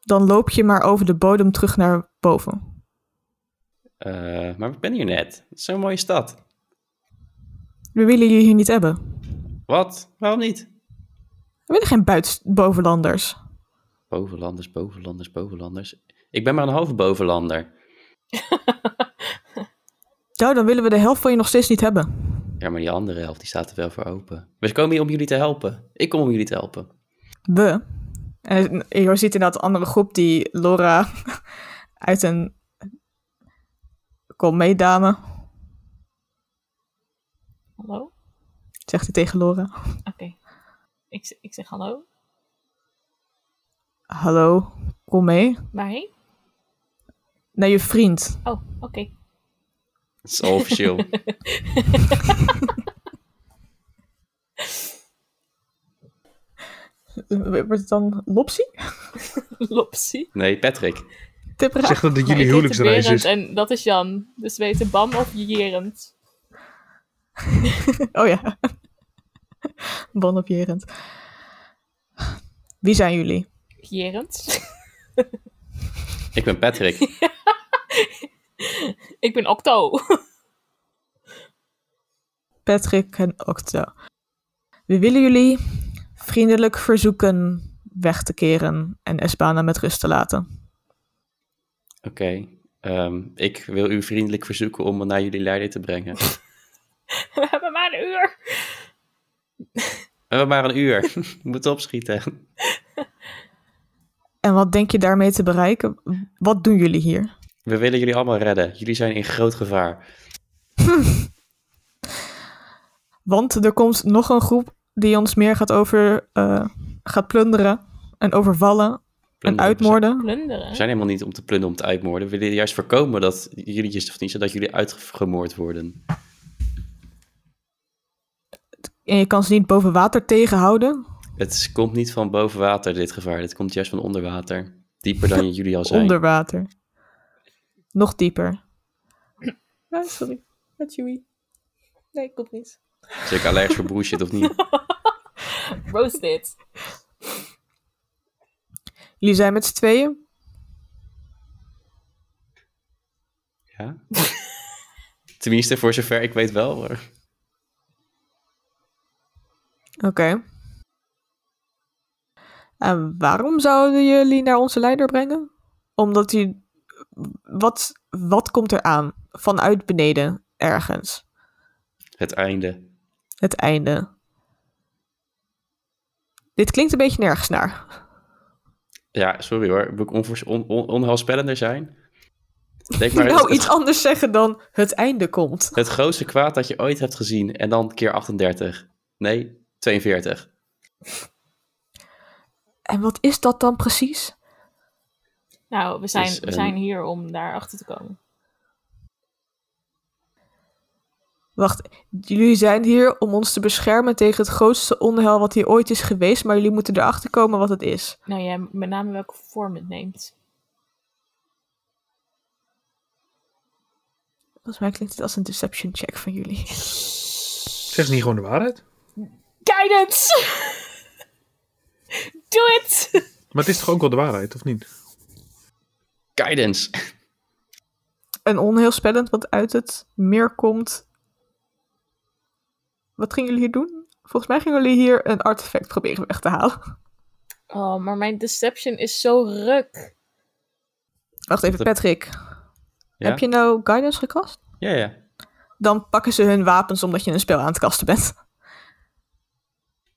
Speaker 1: Dan loop je maar over de bodem terug naar boven.
Speaker 3: Eh, maar ik ben hier net. Het is zo'n mooie stad.
Speaker 1: We willen jullie hier niet hebben.
Speaker 3: Wat? Waarom niet?
Speaker 1: We willen geen buits- bovenlanders.
Speaker 3: Bovenlanders, bovenlanders, bovenlanders. Ik ben maar een halve bovenlander.
Speaker 1: Nou, dan willen we de helft van je nog steeds niet hebben.
Speaker 3: Ja, maar die andere helft, die staat er wel voor open. We komen hier om jullie te helpen. Ik kom om jullie te helpen.
Speaker 1: We. En je ziet inderdaad een andere groep die Laura uit een... Kom mee, dame,
Speaker 4: Hallo?
Speaker 1: zegt hij tegen Laura.
Speaker 4: Oké. Ik, z- ik zeg hallo.
Speaker 1: Hallo, kom mee.
Speaker 4: Waarheen?
Speaker 1: Naar je vriend.
Speaker 4: Oh, oké.
Speaker 3: Het is al officieel.
Speaker 1: Wordt het dan Lopsie?
Speaker 4: Lopsie.
Speaker 3: nee, Patrick.
Speaker 1: Tipperig.
Speaker 5: Zeg dat het
Speaker 4: Maar
Speaker 5: jullie
Speaker 4: ik heet
Speaker 5: huwelijksreis
Speaker 4: Berend
Speaker 5: is.
Speaker 4: En dat is Jan. Dus we weten Bam of Jerend.
Speaker 1: Oh ja. Wanopjerend. Wie zijn jullie?
Speaker 4: Jerend.
Speaker 3: Ik ben Patrick.
Speaker 4: ik ben Octo.
Speaker 1: Patrick en Octo. We willen jullie vriendelijk verzoeken weg te keren en Espana met rust te laten.
Speaker 3: Oké. Ehm, ik wil u vriendelijk verzoeken om me naar jullie leider te brengen. We
Speaker 4: we hebben maar een uur.
Speaker 3: hebben maar een uur. We moeten opschieten.
Speaker 1: En wat denk je daarmee te bereiken? Wat doen jullie hier?
Speaker 3: We willen jullie allemaal redden. Jullie zijn in groot gevaar.
Speaker 1: Want er komt nog een groep die ons meer gaat over... eh, gaat plunderen en overvallen en
Speaker 3: Plunderen.
Speaker 1: uitmoorden.
Speaker 3: We
Speaker 4: Plunderen.
Speaker 3: zijn helemaal niet om te plunderen, om te uitmoorden. We willen juist voorkomen dat jullie, of niet, dat jullie uitgemoord worden.
Speaker 1: En je kan ze niet boven water tegenhouden.
Speaker 3: Het komt niet van boven water, dit gevaar. Het komt juist van onder water. Dieper dan jullie al zijn.
Speaker 1: Onder water. Nog dieper.
Speaker 4: Ah, sorry. Met Joey. Nee, komt niet.
Speaker 3: Zeker allergisch voor bullshit of niet.
Speaker 4: Roasted.
Speaker 1: Jullie zijn met z'n tweeën.
Speaker 3: Ja? Tenminste, voor zover ik weet wel. hoor.
Speaker 1: Oké. En waarom zouden jullie naar onze leider brengen? Omdat u... Wat, wat komt er aan? Vanuit beneden, ergens.
Speaker 3: Het einde.
Speaker 1: Het einde. Dit klinkt een beetje nergens naar.
Speaker 3: Ja, sorry hoor. Moet ik onvoors- on- on- onheilspellender zijn? Denk maar
Speaker 1: nou,
Speaker 3: het,
Speaker 1: iets anders zeggen dan het einde komt.
Speaker 3: het grootste kwaad dat je ooit hebt gezien. En dan keer 38. Nee, 42.
Speaker 1: En wat is dat dan precies?
Speaker 4: Nou, we zijn,
Speaker 3: Dus,
Speaker 4: we
Speaker 3: ehm,
Speaker 4: zijn hier om daarachter te komen.
Speaker 1: Wacht, jullie zijn hier om ons te beschermen tegen het grootste onheil wat hier ooit is geweest, maar jullie moeten erachter komen wat het is.
Speaker 4: Nou ja, met name welke vorm het neemt.
Speaker 1: Volgens mij klinkt dit als een deception check van jullie.
Speaker 5: Zeg ze niet gewoon de waarheid?
Speaker 4: Guidance! Doe het!
Speaker 5: Maar het is toch ook wel de waarheid, of niet?
Speaker 3: Guidance.
Speaker 1: Een onheil spellend wat uit het meer komt. Wat gingen jullie hier doen? Volgens mij gingen jullie hier een artefact proberen weg te halen.
Speaker 4: Oh, maar mijn deception is zo ruk.
Speaker 1: Wacht even,
Speaker 3: Dat-
Speaker 1: Patrick.
Speaker 3: Ja?
Speaker 1: Heb je nou guidance gekast?
Speaker 3: Ja, ja.
Speaker 1: Dan pakken ze hun wapens omdat je een spel aan het kasten bent.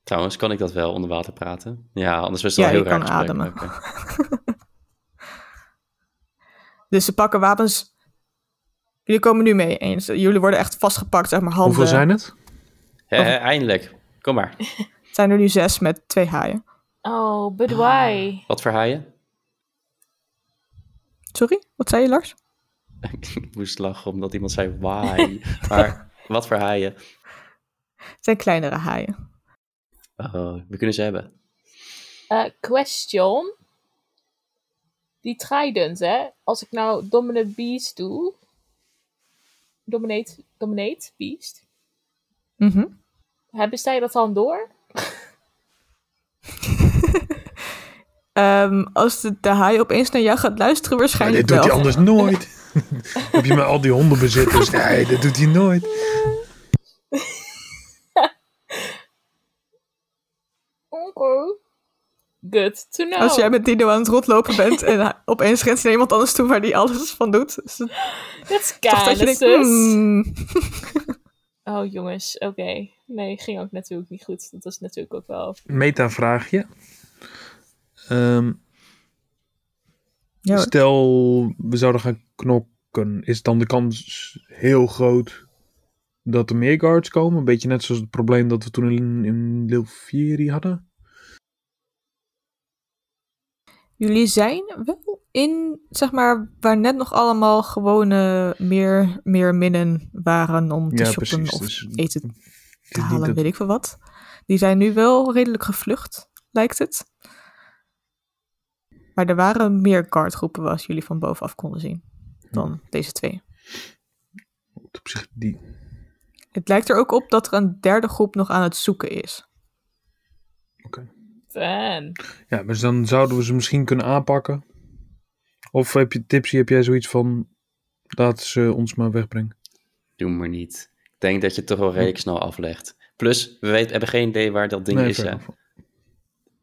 Speaker 3: Trouwens, kan ik dat wel onder water praten? Ja, anders was het
Speaker 1: Ja,
Speaker 3: wel
Speaker 1: je
Speaker 3: heel raar.
Speaker 1: kan
Speaker 3: gesprek.
Speaker 1: ademen.
Speaker 3: Oké.
Speaker 1: Dus ze pakken wapens. Jullie komen nu mee. En jullie worden echt vastgepakt, zeg maar handen.
Speaker 5: Hoeveel zijn het?
Speaker 3: Hè, hè, eindelijk. Kom maar.
Speaker 1: Het zijn er nu zes met twee haaien.
Speaker 4: Oh, but why?
Speaker 3: Wat voor haaien?
Speaker 1: Sorry, wat zei je Lars?
Speaker 3: ik moest lachen omdat iemand zei why. maar wat voor haaien?
Speaker 1: Het zijn kleinere haaien.
Speaker 3: Oh, we kunnen ze hebben.
Speaker 4: Eh, question. Die tridents, hè. Als ik nou Dominant Beast doe... Dominate, dominate Beast.
Speaker 1: Mhm.
Speaker 4: Hebben zij dat dan door?
Speaker 1: Ehm, als de, de haai opeens naar jou gaat luisteren,
Speaker 5: Maar
Speaker 1: waarschijnlijk
Speaker 5: dit doet hij
Speaker 1: wel.
Speaker 5: anders nooit. Heb je maar al die hondenbezitters? Nee, dat doet hij nooit.
Speaker 4: Oké. Good to know.
Speaker 1: Als jij met Dino aan het rondlopen bent en hij- opeens rent hij naar iemand anders toe waar die alles van doet. Is het
Speaker 4: That's
Speaker 1: toch dat je denkt,
Speaker 4: calluses.
Speaker 1: hmm.
Speaker 4: Oh jongens, oké. Nee, ging ook natuurlijk niet goed. Dat is natuurlijk ook wel...
Speaker 5: Meta-vraagje. Ehm,
Speaker 1: Ja, hoor.
Speaker 5: Stel, we zouden gaan knokken. Is dan de kans heel groot dat er meer guards komen? Een beetje net zoals het probleem dat we toen in, in Leelfieri hadden.
Speaker 1: Jullie zijn wel in, zeg maar, waar net nog allemaal gewone meer, meer minnen waren om te
Speaker 5: Ja,
Speaker 1: shoppen
Speaker 5: precies,
Speaker 1: of
Speaker 5: dus-
Speaker 1: eten
Speaker 5: Het
Speaker 1: te
Speaker 5: is niet
Speaker 1: halen,
Speaker 5: dat-
Speaker 1: weet ik veel wat. Die zijn nu wel redelijk gevlucht, lijkt het. Maar er waren meer guardgroepen, als jullie van bovenaf konden zien,
Speaker 5: Hm.
Speaker 1: dan deze twee.
Speaker 5: op zich die.
Speaker 1: Het lijkt er ook op dat er een derde groep nog aan het zoeken is.
Speaker 4: Fun.
Speaker 5: Ja, dus dan zouden we ze misschien kunnen aanpakken. Of heb je tipsy, heb jij zoiets van. Laat ze ons maar wegbrengen.
Speaker 3: Doe maar niet. Ik denk dat je het toch wel redelijk snel aflegt. Plus, we weten, hebben geen idee waar dat ding
Speaker 5: Nee,
Speaker 3: is.
Speaker 5: fair
Speaker 3: hè.
Speaker 5: enough.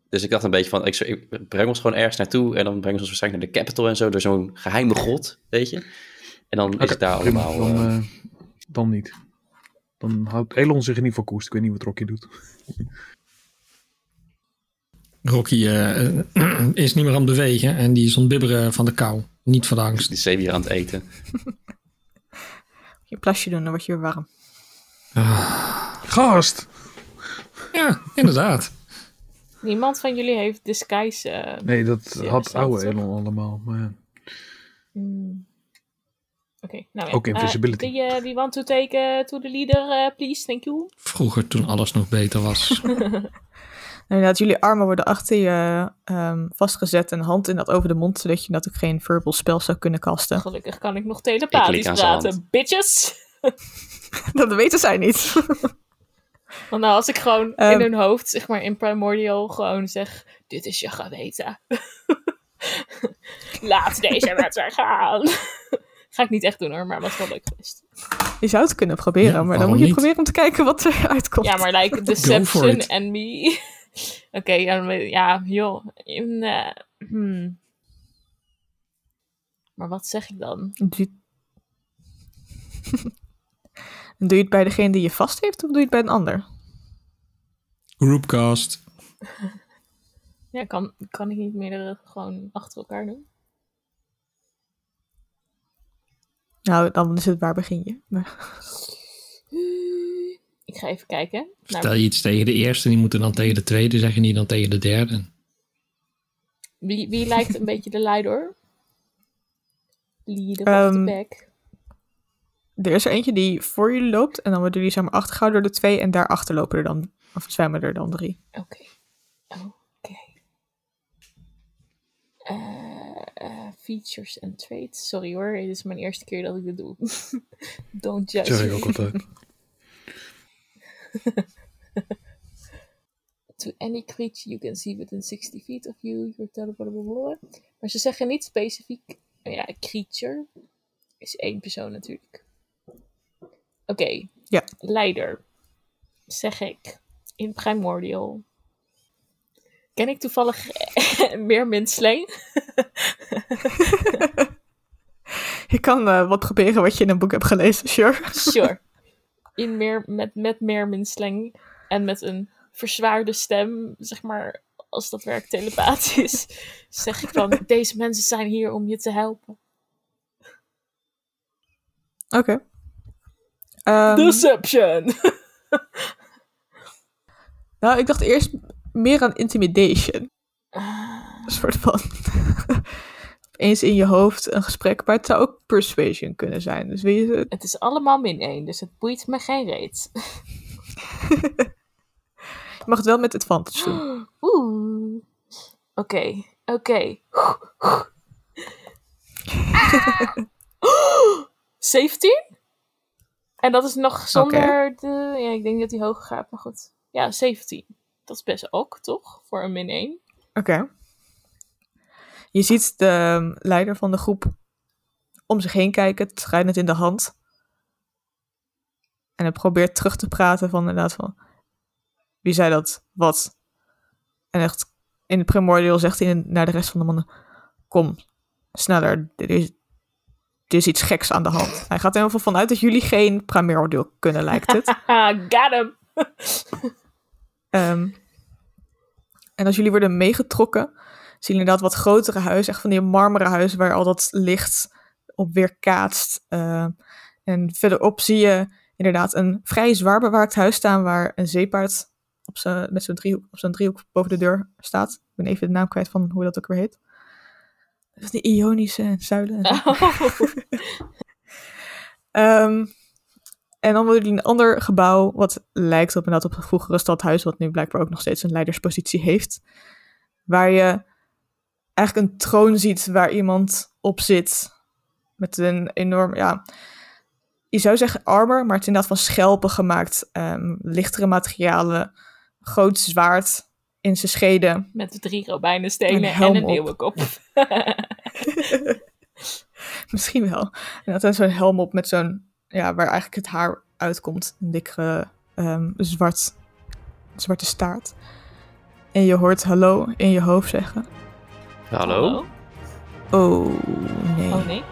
Speaker 3: Dus ik dacht een beetje van, ik, zou- ik breng ons gewoon ergens naartoe en dan brengen ze ons waarschijnlijk naar de capital en zo, door zo'n geheime god, weet je. En dan is
Speaker 5: Oké,
Speaker 3: het daar
Speaker 5: prima.
Speaker 3: allemaal...
Speaker 5: Dan,
Speaker 3: eh,
Speaker 5: eh, dan niet. Dan houdt Elon zich in ieder geval koest. Ik weet niet wat Rocky doet.
Speaker 2: Rocky eh, eh, is niet meer aan het bewegen en die is aan het bibberen van de kou. Niet van de angst.
Speaker 3: die zeewier aan het eten.
Speaker 1: Je plasje doen, dan word je weer warm.
Speaker 5: Gast!
Speaker 2: Ja, inderdaad.
Speaker 4: Niemand van jullie heeft disguise. eh,
Speaker 5: Nee, dat
Speaker 4: Ja,
Speaker 5: had
Speaker 4: zelfs,
Speaker 5: oude
Speaker 4: hè?
Speaker 5: Elon allemaal. Maar ja.
Speaker 4: mm. Oké, nou ja.
Speaker 5: Ook invisibility.
Speaker 4: Eh, do you, do you want to take eh, to the leader, eh, please? Thank you.
Speaker 2: Vroeger toen alles nog beter was.
Speaker 1: En Inderdaad, Nou, jullie armen worden achter je ehm, vastgezet en hand in dat over de mond, zodat je natuurlijk geen verbal spel zou kunnen kasten.
Speaker 4: Gelukkig kan ik nog
Speaker 3: Ik klik
Speaker 4: telepathisch
Speaker 3: aan zijn
Speaker 4: praten, bitches.
Speaker 1: dat weten zij niet.
Speaker 4: Want nou, als ik gewoon in
Speaker 1: Ehm.
Speaker 4: hun hoofd, zeg maar in Primordial, gewoon zeg: Dit is je geweten. Laat deze met haar gaan. Ga ik niet echt doen hoor, maar was wel leuk geweest.
Speaker 1: je zou het kunnen proberen,
Speaker 2: Ja,
Speaker 1: maar dan
Speaker 2: waarom
Speaker 1: moet je
Speaker 2: niet?
Speaker 1: proberen om te kijken wat er uitkomt.
Speaker 4: Ja, maar like
Speaker 2: for
Speaker 4: Deception
Speaker 2: it.
Speaker 4: and me. Oké, ja, dan weet- ja, joh. In, eh, hmm. Maar wat zeg ik dan?
Speaker 1: Doe En doe je het bij degene die je vast heeft, of doe je het bij een ander?
Speaker 2: Groupcast.
Speaker 4: Ja, kan, kan ik niet meerdere gewoon achter elkaar doen?
Speaker 1: Nou, dan is het waar begin je. Maar-
Speaker 4: Ik ga even kijken.
Speaker 2: Vertel
Speaker 4: Naar
Speaker 2: je iets tegen de eerste, die moeten dan tegen de tweede zeggen, die dan tegen de derde.
Speaker 4: wie, wie lijkt een beetje de leider? Leader of the
Speaker 1: Ehm,
Speaker 4: pack.
Speaker 1: Er is er eentje die voor jullie loopt, en dan worden jullie zeg maar achtergehouden door de twee, en daarachter lopen er dan, of zwemmen er dan drie.
Speaker 4: Oké. Oké. Eh, eh, features en traits. Sorry hoor, dit is mijn eerste keer dat ik dit doe. Don't
Speaker 5: Dat
Speaker 4: judge
Speaker 5: zeg ik
Speaker 4: me.
Speaker 5: ook altijd.
Speaker 4: To any creature you can see within 60 feet of you, your teleportable. Maar ze zeggen niet specifiek. nou Ja, creature is één persoon natuurlijk. Oké.
Speaker 1: Ja.
Speaker 4: Leider. Zeg ik. In Primordial. Ken ik toevallig meer Minsleen?
Speaker 1: Je kan eh, wat proberen wat je in een boek hebt gelezen, sure.
Speaker 4: Sure. In meer, met, met meer minslang en met een verzwaarde stem, zeg maar, als dat werkt telepathisch, zeg ik dan, deze mensen zijn hier om je te helpen.
Speaker 1: Oké. Ehm,
Speaker 4: Deception!
Speaker 1: Nou, ik dacht eerst meer aan intimidation. Een soort van. Eens in je hoofd een gesprek, maar het zou ook persuasion kunnen zijn. Dus weet je,
Speaker 4: het is allemaal min één, dus het boeit me geen reet.
Speaker 1: je mag het wel met advantage doen.
Speaker 4: Oeh. Oké, oké. 17? En dat is nog zonder de... Ja, ik denk dat die hoger gaat, maar goed. Ja, 17. Dat is best ook, toch? Voor een min 1.
Speaker 1: Oké. Je ziet de ehm, leider van de groep om zich heen kijken, schrijnend in de hand. En hij probeert terug te praten van inderdaad van... Wie zei dat? Wat? En echt in het primordial zegt hij naar de rest van de mannen... Kom, sneller. Er is, er is iets geks aan de hand. Hij gaat er heel veel vanuit dat jullie geen primordial kunnen, lijkt het.
Speaker 4: Haha, got him!
Speaker 1: Ehm, en als jullie worden meegetrokken, zien jullie inderdaad wat grotere huizen, echt van die marmeren huizen waar al dat licht op weer kaatst. Ehm, en verderop zie je inderdaad een vrij zwaar bewaakt huis staan waar een zeepaard op zijn, met zo'n driehoek, op zo'n driehoek boven de deur staat. Ik ben even de naam kwijt van hoe dat ook weer heet. Dat is die Ionische zuilen. en zo. Ehm, en dan worden jullie een ander gebouw, wat lijkt op inderdaad op het vroegere stadhuis, wat nu blijkbaar ook nog steeds een leiderspositie heeft. Waar je eigenlijk een troon ziet waar iemand op zit. Met een enorm, ja, je zou zeggen armor, maar het is inderdaad van schelpen gemaakt. ehm, lichtere materialen, groot zwaard in zijn scheden.
Speaker 4: Met drie robijnenstenen
Speaker 1: Een
Speaker 4: en,
Speaker 1: helm
Speaker 4: een
Speaker 1: op.
Speaker 4: leeuwenkop.
Speaker 1: Misschien wel. En dat is zo'n helm op met zo'n, ja, waar eigenlijk het haar uitkomt. Een dikke ehm, zwart, zwarte staart. En je hoort hallo in je hoofd zeggen.
Speaker 3: Hallo?
Speaker 1: Oh nee.
Speaker 4: Oh nee.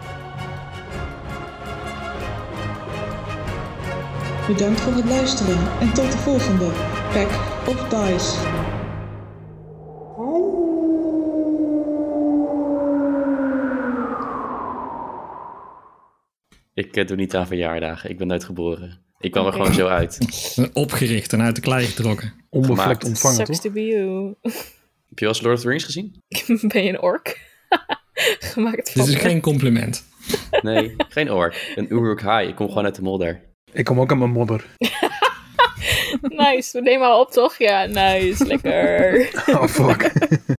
Speaker 6: Bedankt voor het luisteren en tot de volgende Pack of Dice.
Speaker 3: Ik eh, doe niet aan verjaardagen. Ik ben nooit geboren. Ik kwam er
Speaker 4: Oké.
Speaker 3: gewoon zo uit.
Speaker 2: Eh, Opgericht en uit de klei getrokken.
Speaker 5: Onbevlekt
Speaker 3: Gemaakt.
Speaker 5: ontvangen,
Speaker 4: Sucks to
Speaker 5: toch?
Speaker 4: be you.
Speaker 3: Heb je wel eens Lord of the Rings gezien?
Speaker 4: ben je een ork? Gemaakt van...
Speaker 2: Dit is geen compliment.
Speaker 3: Nee, geen ork. Een Uruk-hai. Ik kom gewoon uit de modder.
Speaker 5: Ik kom ook aan mijn modder.
Speaker 4: Nice, we nemen al op toch? Ja, nice, lekker.
Speaker 5: Oh, fuck.